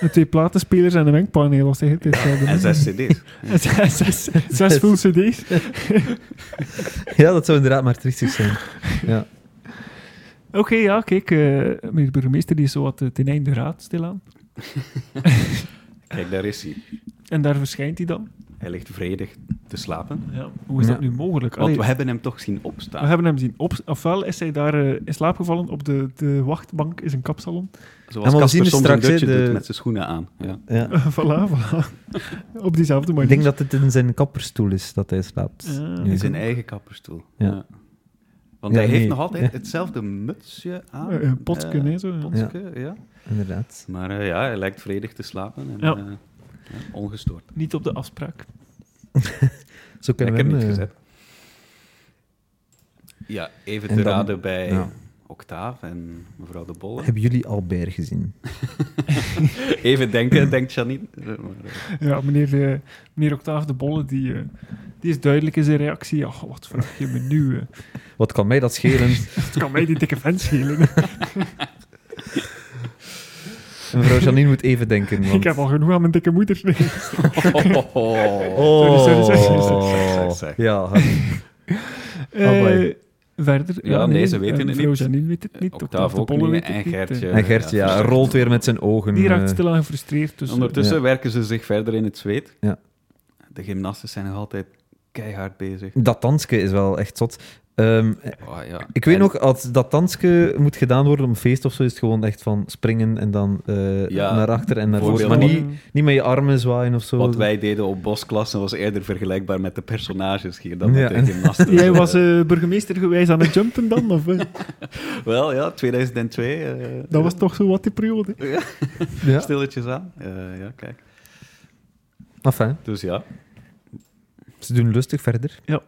met twee platenspelers en een mengpaneel als hij het is?
En zes cd's.
zes, zes, zes full cd's.
Ja, dat zou inderdaad maar triestig zijn. Ja.
Oké, ja, kijk, eh, meneer de burgemeester die is zo wat eh, ten einde raad stilaan.
Kijk, daar is hij.
En daar verschijnt hij dan.
Hij ligt vredig te slapen.
Ja, hoe is dat
Ja.
nu mogelijk?
Want
Allee,
we hebben hem toch zien
we
opstaan.
hebben hem zien op. Ofwel is hij daar eh, in slaap gevallen op de, de wachtbank in zijn kapsalon.
Zoals
En we
Casper
zien dus
soms een
straks, hè,
dutje
de-
doet met zijn schoenen aan. Ja.
ja.
voilà, voilà. op diezelfde manier.
Ik denk dat het in zijn kapperstoel is dat hij slaapt.
Ah.
Ja.
In zijn eigen kapperstoel.
Ja.
Want
Ja,
hij heeft
nee.
nog altijd
Ja.
hetzelfde mutsje aan.
Eh, een potske,
Eh,
nee, zo, ja.
potske, ja.
Inderdaad.
Maar eh, ja, hij lijkt vredig te slapen. En,
Ja.
eh, ja, ongestoord.
Niet op de afspraak.
Zo
Lekker
kunnen we
niet
hem, eh,
gezet. Ja, even
En
te
dan-
raden bij
ja.
Octaaf en mevrouw De Bolle.
eh, Hebben jullie Albert gezien?
Even denken, denkt Janine. Eh, maar, eh,
Ja, meneer, eh, meneer Octave de Bolle, die, eh, die is duidelijk in zijn reactie. Ja, wat vraag je me nu? eh?
Wat kan mij dat schelen?
Het kan mij die dikke vent schelen.
Mevrouw Janine moet even denken. Want... Ah,
Ik heb al genoeg aan mijn dikke moeder. Nee.
eh.
Oh,
Sorry, sorry, sorry,
sorry, sorry, sorry.
Ja, Harry.
Eh,
Amai.
verder.
Ja, nee, ze weten
eh,
het
mevrouw
niet.
Janine weet het niet.
Octave
Octave de
ook
Bolle
niet,
weet
en
het niet,
Gertje.
eh.
en Gertje ja, rolt weer met zijn ogen.
Die raakt
eh.
stilaan gefrustreerd. Dus, eh,
Ondertussen
Ja.
werken ze zich verder in het zweet.
Ja.
De gymnasten zijn nog altijd keihard bezig.
Dat danske is wel echt zot. Ehm,
Oh, ja.
ik weet
En-
nog, als dat danske moet gedaan worden op een feest of zo, is het gewoon echt van springen en dan eh,
Ja,
naar achter en naar voren. Maar
voorbeeld.
niet, niet met je armen zwaaien of zo.
Wat wij deden op bosklassen was eerder vergelijkbaar met de personages hier dan met
Ja.
de gymnasten.
Jij was eh, burgemeester gewijs aan het jumpen dan? Of, eh?
Wel, ja, 2002. eh,
dat was toch zo wat die periode.
Ja,
Ja.
stilletjes aan. Eh, ja, kijk.
Enfin,
Dus ja.
ze doen lustig verder.
ja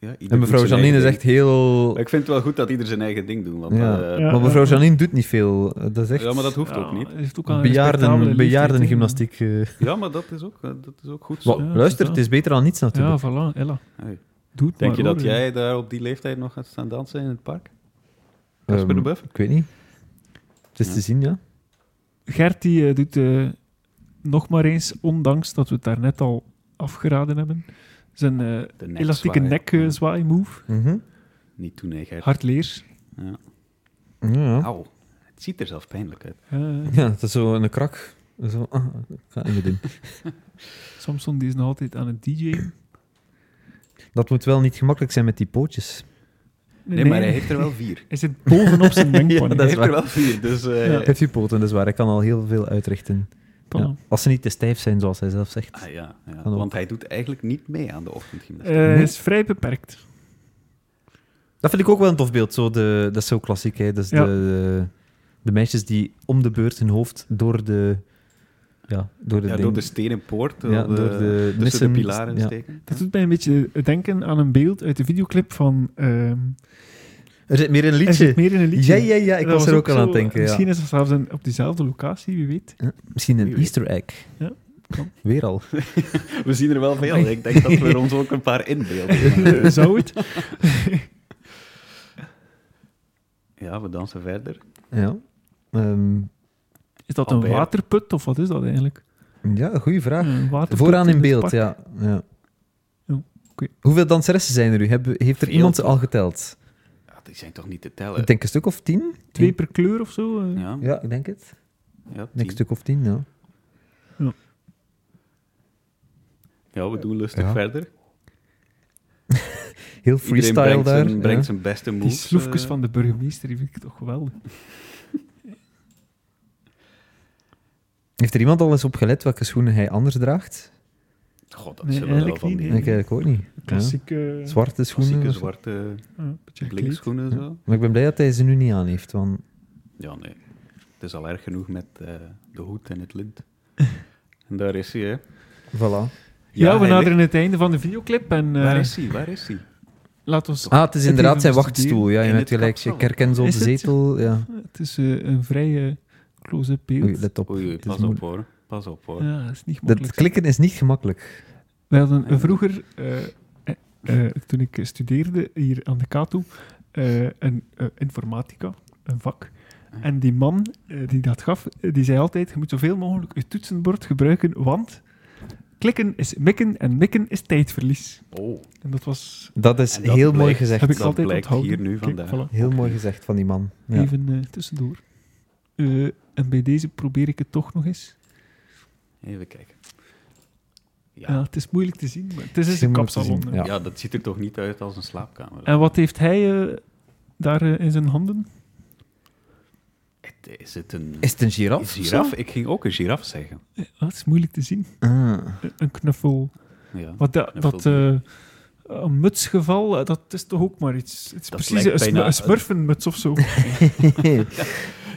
ieder
En mevrouw
doet zijn
Janine is
eigen
echt heel...
ding. Maar ik vind het wel goed dat ieder zijn eigen ding doet. Want,
Ja.
eh,
Ja.
maar mevrouw Janine doet niet veel. Eh, Dat is echt
ja, maar dat hoeft ook niet.
Heeft ook aan
bejaarden,
gymnastiek.
bejaardengymnastiek. eh.
Ja, maar dat is ook, eh, dat is ook goed zo.
Wel,
Ja,
luister,
totaal.
het is beter dan niets natuurlijk.
Ja, voilà, Ella.
Hey.
Doe het
Denk
maar,
je dat
hoor.
jij daar op die leeftijd nog gaat staan dansen in het park? Casper de
Ehm,
Buffer?
Ik weet niet. Het is
Ja.
te zien, ja.
Gert die, eh, doet eh, nog maar eens, ondanks dat we het daarnet al afgeraden hebben, zijn eh,
De nek
elastieke
zwaaien.
nek eh, zwaai move.
Mhm.
Niet toen, nee, Gert.
Hardleers.
ja.
Auw. Het ziet er zelfs pijnlijk uit.
Eh,
ja, dat is zo een krak. Zo, ah, ik ga het niet meer doen.
Samson die is nog altijd aan het DJ'en.
Dat moet wel niet gemakkelijk zijn met die pootjes.
Nee, maar hij heeft er wel vier.
Hij zit bovenop zijn wenkbrauw.
Ja,
Hij
dat is
heeft er
waar.
wel vier, dus... eh,
Hij heeft vier poten, dat is waar. Hij kan al heel veel uitrichten.
Voilà.
Ja. Als ze niet te stijf zijn, zoals hij zelf zegt.
Ah, ja, ja.
ook.
Want hij doet eigenlijk niet mee aan de ochtendgymnastiek.
Eh, hij is vrij beperkt.
Dat vind ik ook wel een tof beeld. Zo de, dat is zo klassiek. Hè. Dat is
Ja.
de, de, de meisjes die om de beurt hun hoofd door de... Ja, door de,
ja,
ding-
door de stenen poort,
Ja,
door
door de
de, tussen
nissen,
de pilaren
ja.
steken.
Dat doet mij een beetje denken aan een beeld uit de videoclip van... ehm
Er zit meer een
er
liedje.
zit meer in een liedje.
Ja, ja, ja. Ik
Dat
was er ook al aan
zo-
het denken.
Misschien
ja.
is dat zelfs een- op diezelfde locatie, wie weet.
misschien
Wie
een
weet.
easter egg.
Ja, kan.
Weer al.
We zien er wel veel. Ik denk dat we er ons ook een paar inbeelden.
Eh, Zou het?
Ja, we dansen verder.
Ja. Ehm,
Is dat
Albert.
een waterput of wat is dat eigenlijk?
ja, goede vraag.
Een waterput
Vooraan in
dit
beeld,
park?
ja. ja.
Ja, oké.
Hoeveel danseressen zijn er nu? Heb- heeft er
Veel. Eh,
iemand ze al geteld?
Ja, die zijn toch niet te tellen?
Ik denk een stuk of tien?
Twee per kleur of zo? eh.
Ja,
Ja, ik denk het.
ja,
Ik denk
tien.
Een stuk of tien, ja.
ja, we doen lustig
Ja.
verder.
Heel
Iedereen
freestyle
brengt,
daar.
zijn, brengt
ja.
zijn beste moves.
Die sloefjes
eh.
van de burgemeester die vind ik toch geweldig.
Heeft er iemand al eens op gelet welke schoenen hij anders draagt?
God, dat
Nee,
zullen we wel
eigenlijk
van
niet,
die
nee.
Ik eigenlijk ook niet. Ja.
Klassiek. eh,
Zwarte schoenen.
Mm. klassieke
of zo.
zwarte
eh, een beetje gekleed.
blinkschoenen. Zo.
Maar ik ben blij dat hij ze nu niet aan heeft. Want
Ja, nee. Het is al erg genoeg met eh, de hoed en het lint. En daar is hij, hè.
voilà.
Ja, we
hij
naderen het einde van de videoclip en
ligt-
eh,
Waar is hij? Waar is hij?
laat ons...
Ah, het is
Zit
inderdaad
hij
zijn
van
wachtstoel. Ja, je
in
hebt
het
gelijk.
kapsel?
Ik herken zo op
Is
de
het?
zetel. Ja.
Het is eh, een vrij eh close-up beeld.
Oei, let op.
Oei, oei,
Het is
pas op
moeilijk.
hoor. Pas op hoor.
ja, dat is niet
Dat,
makkelijk.
klikken is niet gemakkelijk.
We hadden eh, vroeger, eh, eh, eh, toen ik studeerde hier aan de Kato, eh, een eh, informatica, een vak.
Ah.
En die man eh, die dat gaf, eh, die zei altijd, je moet zoveel mogelijk je toetsenbord gebruiken, want klikken is mikken en mikken is tijdverlies.
Oh,
En dat was
Dat is
En dat
heel mooi
blijkt-
gezegd.
heb ik
dat
altijd
blijkt
onthouden.
hier nu
Kijk,
vandaag.
voilà.
Heel mooi gezegd van die man. Ja.
Even eh, tussendoor. Eh, en bij deze probeer ik het toch nog eens.
even kijken.
Ja.
Ja.
het is moeilijk te zien, maar het is eens
Heel
een
moeilijk te
kapsalon.
zien,
hè.
Ja.
ja.
dat ziet er toch niet uit als een slaapkamer.
En wat heeft hij eh, daar eh, in zijn handen?
Het- is het een
Is het een giraf?
een giraf? Ik ging ook een giraf zeggen.
Eh, Dat is moeilijk te zien.
Ah.
Eh, Een knuffel.
Ja.
Wat da-
Knuffel
dat eh, een mutsgeval, eh, dat is toch ook maar iets. Het is
Dat
precies
lijkt
een, sm-
bijna-
een smurfenmuts of zo.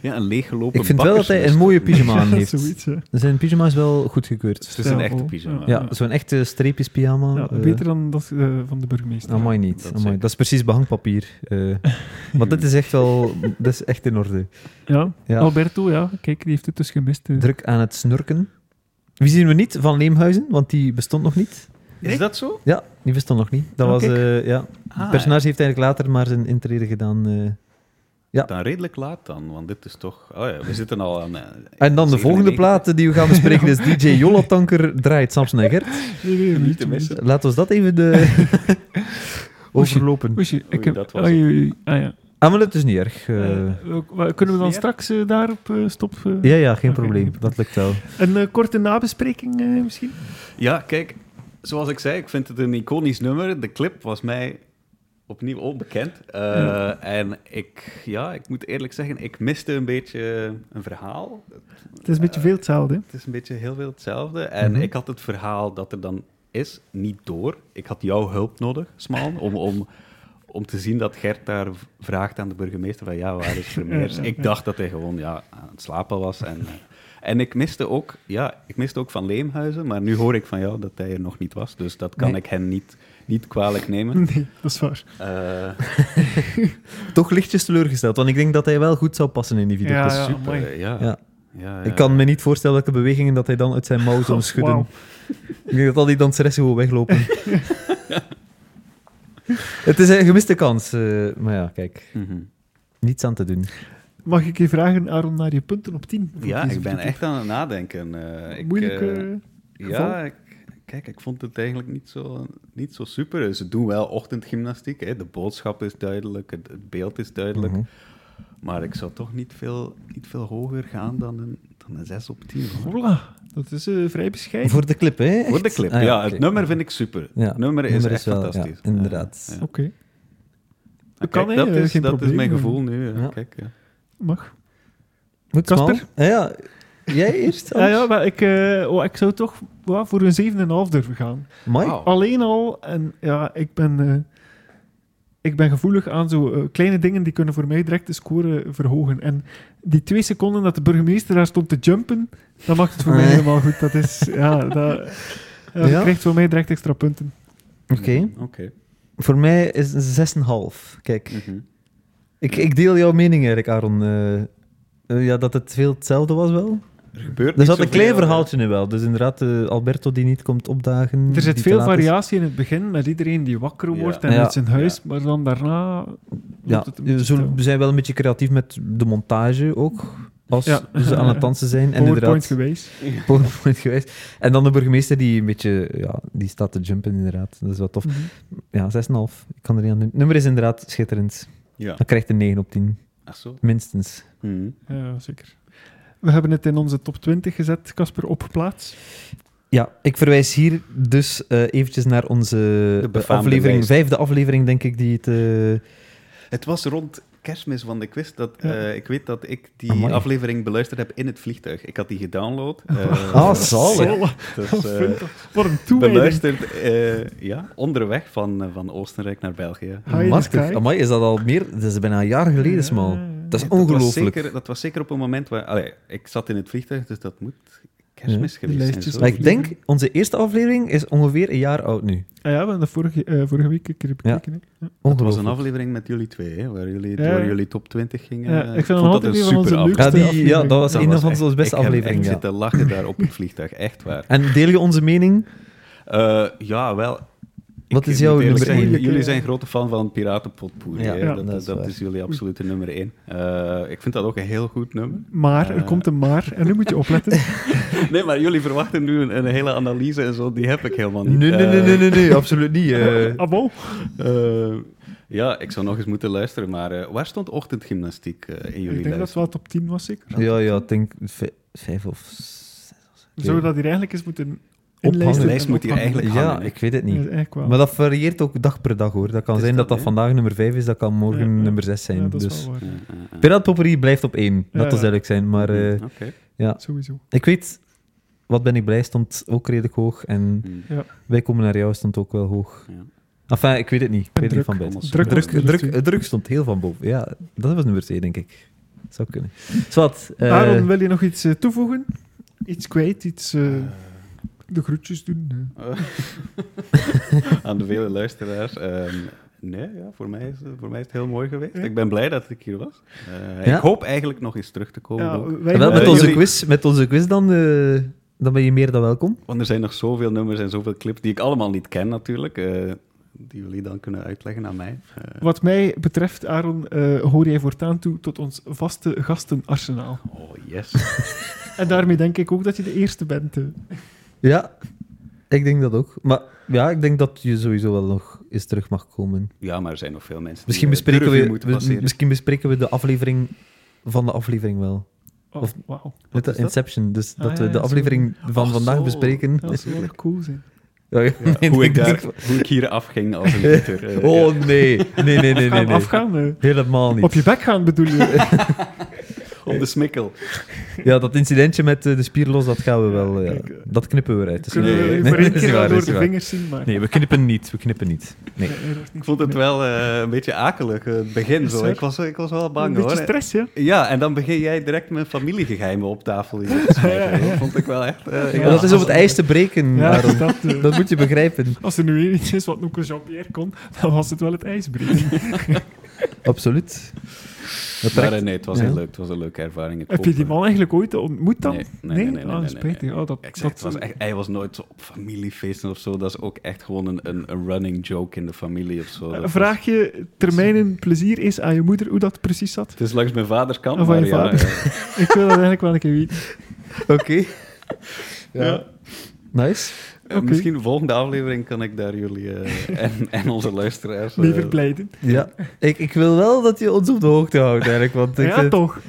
ja, een leeggelopen
ik vind wel dat hij
bakkersnest.
een mooie pyjama aan
Ja,
heeft.
zoiets, hè.
Zijn pyjama is wel goed gekeurd.
Het is een
Ja,
echte
oh,
pyjama.
ja.
Ja, zo'n echte streepjes pyjama.
Ja, beter dan dat eh, van de burgemeester.
Amai niet.
Dat
Dat, amai.
zeker.
dat is precies behangpapier. eh. maar dat is echt wel... Dat is echt in orde.
Ja.
Ja.
Alberto, ja, kijk, die heeft het dus gemist. eh.
Druk aan het snurken. Wie zien we niet? Van Leemhuizen, want die bestond nog niet.
Is dat zo?
Ja, die bestond nog niet. Dat
Oh,
was...
kijk.
eh, ja. Het personage heeft eigenlijk later maar zijn intrede gedaan. eh.
Ah, Dan redelijk laat dan, want dit is toch... Oh ja, we zitten al aan... eh,
En dan de
97.
volgende plaat die we gaan bespreken is DJ Jolatanker draait Samson en Gert.
Nee, nee,
Niet te
niet.
missen.
Laten we dat even de... overlopen.
Oei, ik
Oei,
heb...
dat was
oei, oei, Ah, ja.
Amulet is niet erg. eh.
Eh, we- we- kunnen we dan
Meer?
straks eh, daarop eh, stop? eh?
ja, ja, geen
Oké,
probleem.
geen
Dat lukt wel.
Een eh, korte nabespreking eh, misschien?
Ja, kijk, zoals ik zei, ik vind het een iconisch nummer. De clip was mij opnieuw onbekend. Eh,
Ja.
En ik, ja, ik moet eerlijk zeggen, ik miste een beetje een verhaal.
Het is een beetje veel hetzelfde. hè.
Het is een beetje heel veel hetzelfde. En
Mhm.
ik had het verhaal dat er dan is niet door. Ik had jouw hulp nodig, Smaan, om, om, om te zien dat Gert daar v- vraagt aan de burgemeester van ja, waar is Vermeers?
Ja, ja, ja.
Ik dacht dat hij gewoon ja, aan het slapen was. En, eh, en ik miste ook, ja, ik miste ook van Leemhuizen, maar nu hoor ik van jou dat hij er nog niet was. Dus dat kan
Nee.
ik hem niet, niet kwalijk nemen.
Nee, dat is waar.
Eh,
Toch lichtjes teleurgesteld, want ik denk dat hij wel goed zou passen in die video.
Ja,
Dus
ja.
super,
amai.
eh, ja.
Ja.
Ja, Oh,
Ik
ja.
kan me niet voorstellen welke bewegingen dat hij dan uit zijn mouw zou
Goh,
schudden.
wauw.
Ik denk dat al die danseressen gewoon weglopen. Het is een gemiste kans. eh, maar ja, kijk.
Mhm.
Niets aan te doen.
Mag ik je vragen, Aaron, naar je punten op 10? voor
Ja,
deze
ik ben
video?
echt aan het nadenken. Eh, ik,
Moeilijk.
eh,
eh,
Ja, ik, kijk, ik vond het eigenlijk niet zo, niet zo super. Ze doen wel ochtendgymnastiek, hè. de boodschap is duidelijk, het, het beeld is duidelijk.
Mhm.
Maar ik zou toch niet veel, niet veel hoger gaan dan een, dan een 6 op 10. hoor.
Voilà, dat is eh, vrij bescheiden.
Mhm. Voor de clip, hè?
Voor de clip.
Ah,
ja,
ja,
het
oké.
nummer vind ik super.
Ja,
Het nummer is
nummer
echt
is wel- ja,
fantastisch.
inderdaad.
Ja.
Oké,
Ah,
Kan,
kijk,
hè,
dat
eh,
is,
geen
dat is
probleem.
mijn gevoel nu. Ja,
Ja.
Kijk, ja.
mag.
Moet
Kasper?
smal? Ah, ja. Jij eerst?
Ja, ja, maar ik, eh, oh, ik zou toch wel voor een 7,5 durven gaan.
Mike?
Wauw.
Alleen al, en ja, ik ben, eh, ik ben gevoelig aan zo eh, kleine dingen die kunnen voor mij direct de score verhogen. En die twee seconden dat de burgemeester daar stond te jumpen, dan mag het voor mij
Nee.
helemaal goed. Dat is, ja, dat, ja, dat
Ja?
krijgt voor mij direct extra punten.
Oké.
Mhm, Oké.
Voor mij is het een 6,5. Kijk,
Mhm.
ik, ik deel jouw mening eigenlijk, Aaron. Eh, eh, ja, dat het veel hetzelfde was wel.
Er gebeurt
Er
niet
zat een klein
zoveel,
verhaaltje in wel. Dus inderdaad, eh, Alberto die niet komt opdagen.
Er zit
die te
veel
laat is.
variatie in het begin met iedereen die wakker
Ja.
wordt en
Ja.
uit zijn huis,
Ja.
maar dan daarna loopt
Ja,
het een
eh,
beetje
zo,
stil.
we zijn wel een beetje creatief met de montage ook. Als
Ja.
ze aan het dansen zijn. En
PowerPoint
inderdaad,
geweest.
PowerPoint geweest. En dan de burgemeester die een beetje, ja, die staat te jumpen inderdaad. Dat is wel tof. Ja, 6,5. Ik kan er niet aan doen. Het nummer is inderdaad schitterend.
Ja.
Dan krijgt een 9 op 10.
Ach zo.
Minstens.
Mhm.
Ja, zeker. We hebben het in onze top 20 gezet, Casper, op plaats.
Ja, ik verwijs hier dus eh, eventjes naar onze eh,
befaamde
aflevering,
lijst.
vijfde aflevering, denk ik, die het... eh,
Het was rond kerstmis, want ik wist dat...
Ja.
eh, ik weet dat ik die
Amai.
aflevering beluisterd heb in het vliegtuig. Ik had die gedownload. eh,
Ah, zalig.
ja, Dus, eh,
Wat een toewijding.
beluisterd eh, ja, onderweg van, eh, van Oostenrijk naar België.
Hi in the
Machtig.
sky.
Amai, is dat al meer... Dat is bijna een jaar geleden, smal.
Ja, ja, ja.
Dat is
Dat was,
ongelooflijk.
zeker, dat was zeker op een moment waar... allee, ik zat in het vliegtuig, dus dat moet kerstmis
Ja, de
geweest zijn.
lijstjes
zo.
Maar ik denk, onze eerste aflevering is ongeveer een jaar oud nu.
Ah ja, we hebben dat vorige, eh, vorige week een keer bekeken. hè. Ja.
Het was
Ongelooflijk.
een aflevering met jullie twee, hè, waar jullie
Ja.
door jullie top 20 gingen.
Ja,
Eh,
ik vind
vond
dat
dat
altijd een
een
van onze
super
leukste
aflevering.
Ja, die, ja,
afleveringen.
dat was
Dat
een
was
van
echt-
onze beste
ik heb
afleveringen.
echt
Ja.
zitten lachen daar op het vliegtuig, echt waar.
En deel je onze mening?
Eh, ja, wel. Ik
Wat is
moet
jouw
eerlijk
nummer
zijn,
één?
jullie- Jullie zijn grote fan van Piratenpotpourri.
Ja,
hè.
ja,
dat,
dat
dat,
is waar.
is jullie absolute nummer één. Eh, ik vind dat ook een heel goed nummer.
Maar, er
Eh.
komt een maar, en nu moet je opletten.
Nee, maar jullie verwachten nu een, een hele analyse en zo, die heb ik helemaal niet.
Nee, nee,
Eh,
nee, nee, nee, nee, absoluut niet. eh.
Abo.
eh, ja, ik zou nog eens moeten luisteren, maar eh, waar stond ochtendgymnastiek eh, in jullie
Ik denk dat het
lijst?
wel top 10 was, zeker.
ja, ja, ik denk vij- vijf of zes.
Zouden we dat hier eigenlijk eens moeten
Ophangen.
inlijsten?
De lijst
en
moet hier
ophangen?
eigenlijk
Ja,
hangen, hè.
ik weet het
Ja,
niet.
eigenlijk wel.
Maar dat varieert ook dag per dag hoor. Dat kan
Het is
zijn dat
dat,
dat
hè?
vandaag nummer 5 is, dat kan morgen
Ja, ja.
nummer 6 zijn.
Ja, dat is
dus.
wel waar.
Ja, ja, ja.
Piraat Potpourri blijft op 1,
Ja, Mhm.
dat is
ja.
duidelijk zijn. Maar eh,
eh. Oké.
Sowieso.
ik weet, wat ben ik blij stond ook redelijk hoog. En
Hm.
wij komen naar jou stond ook wel hoog.
Ja.
Enfin, ik weet het niet. Ik weet het niet
druk.
van buiten.
Allemaal
Druk,
Druk,
was nummer
druk,
twee.
druk stond heel van boven. Ja, dat was nummer 2, denk ik. Zou kunnen. Zwat, eh,
Aaron, wil je nog iets eh, toevoegen? Iets kwijt, iets... eh, de groetjes doen. eh.
Aan de vele luisteraars. ehm, nee, ja, voor, mij is, voor mij is het heel mooi geweest.
Ja.
Ik ben blij dat ik hier was. Eh,
Ja.
Ik hoop eigenlijk nog eens terug te komen.
Ja,
ook.
wij
en wel, met,
Eh,
hopen-
onze
jullie-
quiz, met onze quiz dan, eh, dan ben je meer dan welkom.
Want er zijn nog zoveel nummers en zoveel clips die ik allemaal niet ken natuurlijk. eh, die jullie dan kunnen uitleggen aan mij. Eh,
Wat mij betreft, Aaron, eh, hoor jij voortaan toe tot ons vaste gastenarsenaal.
oh, yes.
En daarmee denk ik ook dat je de eerste bent. eh.
Ja, ik denk dat ook. Maar ja, ik denk dat je sowieso wel nog eens terug mag komen.
Ja, maar er zijn nog veel mensen
Misschien
die eh,
bespreken,
durven
we,
moeten
we-
passeren.
misschien bespreken we de aflevering van de aflevering wel.
Oh,
Of-
wauw.
Met de
is dat?
Inception. Dus
Ah,
dat
ja,
we de
ja,
aflevering van
Ach,
vandaag
zo.
bespreken.
Dat zou wel echt cool zijn.
Ja, ja,
Ja,
nee,
hoe, ik
denk
daar, hoe ik hier afging als een gitter. eh,
Oh nee. Nee, nee, nee, nee.
Gaan we
nee.
afgaan? eh.
Helemaal niet.
Op je bek gaan bedoel je? eh,
Op de smikkel.
Ja, dat incidentje met eh, de spierlos, dat gaan we wel... eh,
kijk, eh,
dat knippen we eruit. dat is
Kunnen
waar.
Nee,
we
nee,
voor
dat
één
is
keer
niet
wel
waar, dat
door
is
de
niet waar.
vingers zien, maar...
Nee, we knippen niet. We knippen niet. Nee.
Nee, er wordt niet-
Ik vond het wel eh, een beetje akelig, eh, het begin. Zo. Ik, was, ik was wel bang
Een beetje
hoor.
stress, ja?
Ja, en dan begin jij direct mijn familiegeheimen op tafel hier te smijten. Dat vond ik wel echt... eh,
Ja,
ja.
Maar dat is om het ijs te breken,
Ja,
Aaron.
dat, eh,
Dat moet je begrijpen.
Als er nu weer iets is wat Noeke Jean-Pierre kon, dan was het wel het ijsbreken.
Absoluut. Dat
Maar
trekt.
eh, nee, het was
Ja.
heel leuk. Het was een leuke ervaring. Ik
Heb
hoop,
je die
eh,
man eigenlijk ooit ontmoet dan?
Nee, nee, nee, nee, nee,
Ah,
nee,
spijtig. Oh, dat,
Ik zeg, het
dat-
was echt, hij was nooit zo op familiefeesten of zo. Dat is ook echt gewoon een, een, een running joke in de familie of zo. Dat was-
Eh, Vraag je termijnen plezier eens aan je moeder hoe dat precies zat?
Het is langs mijn vaders kant,
Of van
maar
je
ja,
vader.
eh,
Ik wil dat eigenlijk wel een keer weten.
Oké. Ja. Nice.
Oké.
eh, Misschien de volgende aflevering kan ik daar jullie eh, en, en onze luisteraars... eh,
Liever blijden.
Ja. Ik, ik wil wel dat je ons op de hoogte houdt, eigenlijk. Want ik
Ja,
vind-
toch.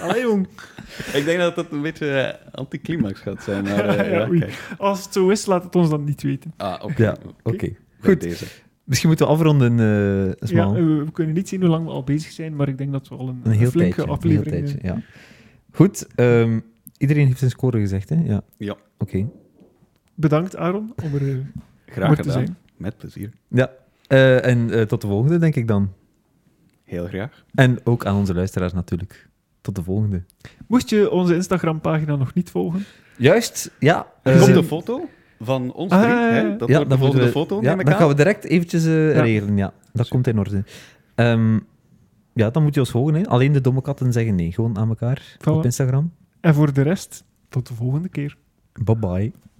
Allee, jong.
ik denk dat dat een beetje eh, anticlimax gaat zijn. Maar, eh,
Ja,
ja,
oei.
kijk.
Als het zo is, laat het ons dan niet weten.
Ah, oké.
Ja,
Bij
Oké. Dus Goed.
Deze.
Misschien moeten we afronden, eh
Ja,
Smal.
we, we kunnen niet zien hoe lang we al bezig zijn, maar ik denk dat we al een,
een heel
flinke
tijdje.
aflevering
Een heel
eh,
tijdje, ja. Goed. ehm, iedereen heeft zijn score gezegd, hè? Ja.
Ja.
Oké.
Bedankt, Aaron, om er eh,
Graag
voor te
gedaan.
zijn.
Met plezier.
Ja. Eh, en eh, tot de volgende, denk ik dan.
Heel graag.
En ook aan onze luisteraars natuurlijk. Tot de volgende.
Moest je onze Instagram-pagina nog niet volgen?
Juist, ja.
Er
eh,
komt een foto van ons drie.
Ah,
hè? Dat
ja,
wordt de
dan moeten
volgende
we-
foto,
ja,
neem ik
dan
aan.
gaan we direct eventjes eh,
Ja.
regelen, ja. Dat komt in orde. Ehm, ja, dan moet je ons volgen, hè. Alleen de domme katten zeggen nee. Gewoon aan elkaar
Voilà.
op Instagram.
En voor de rest, tot de volgende keer.
Bye-bye.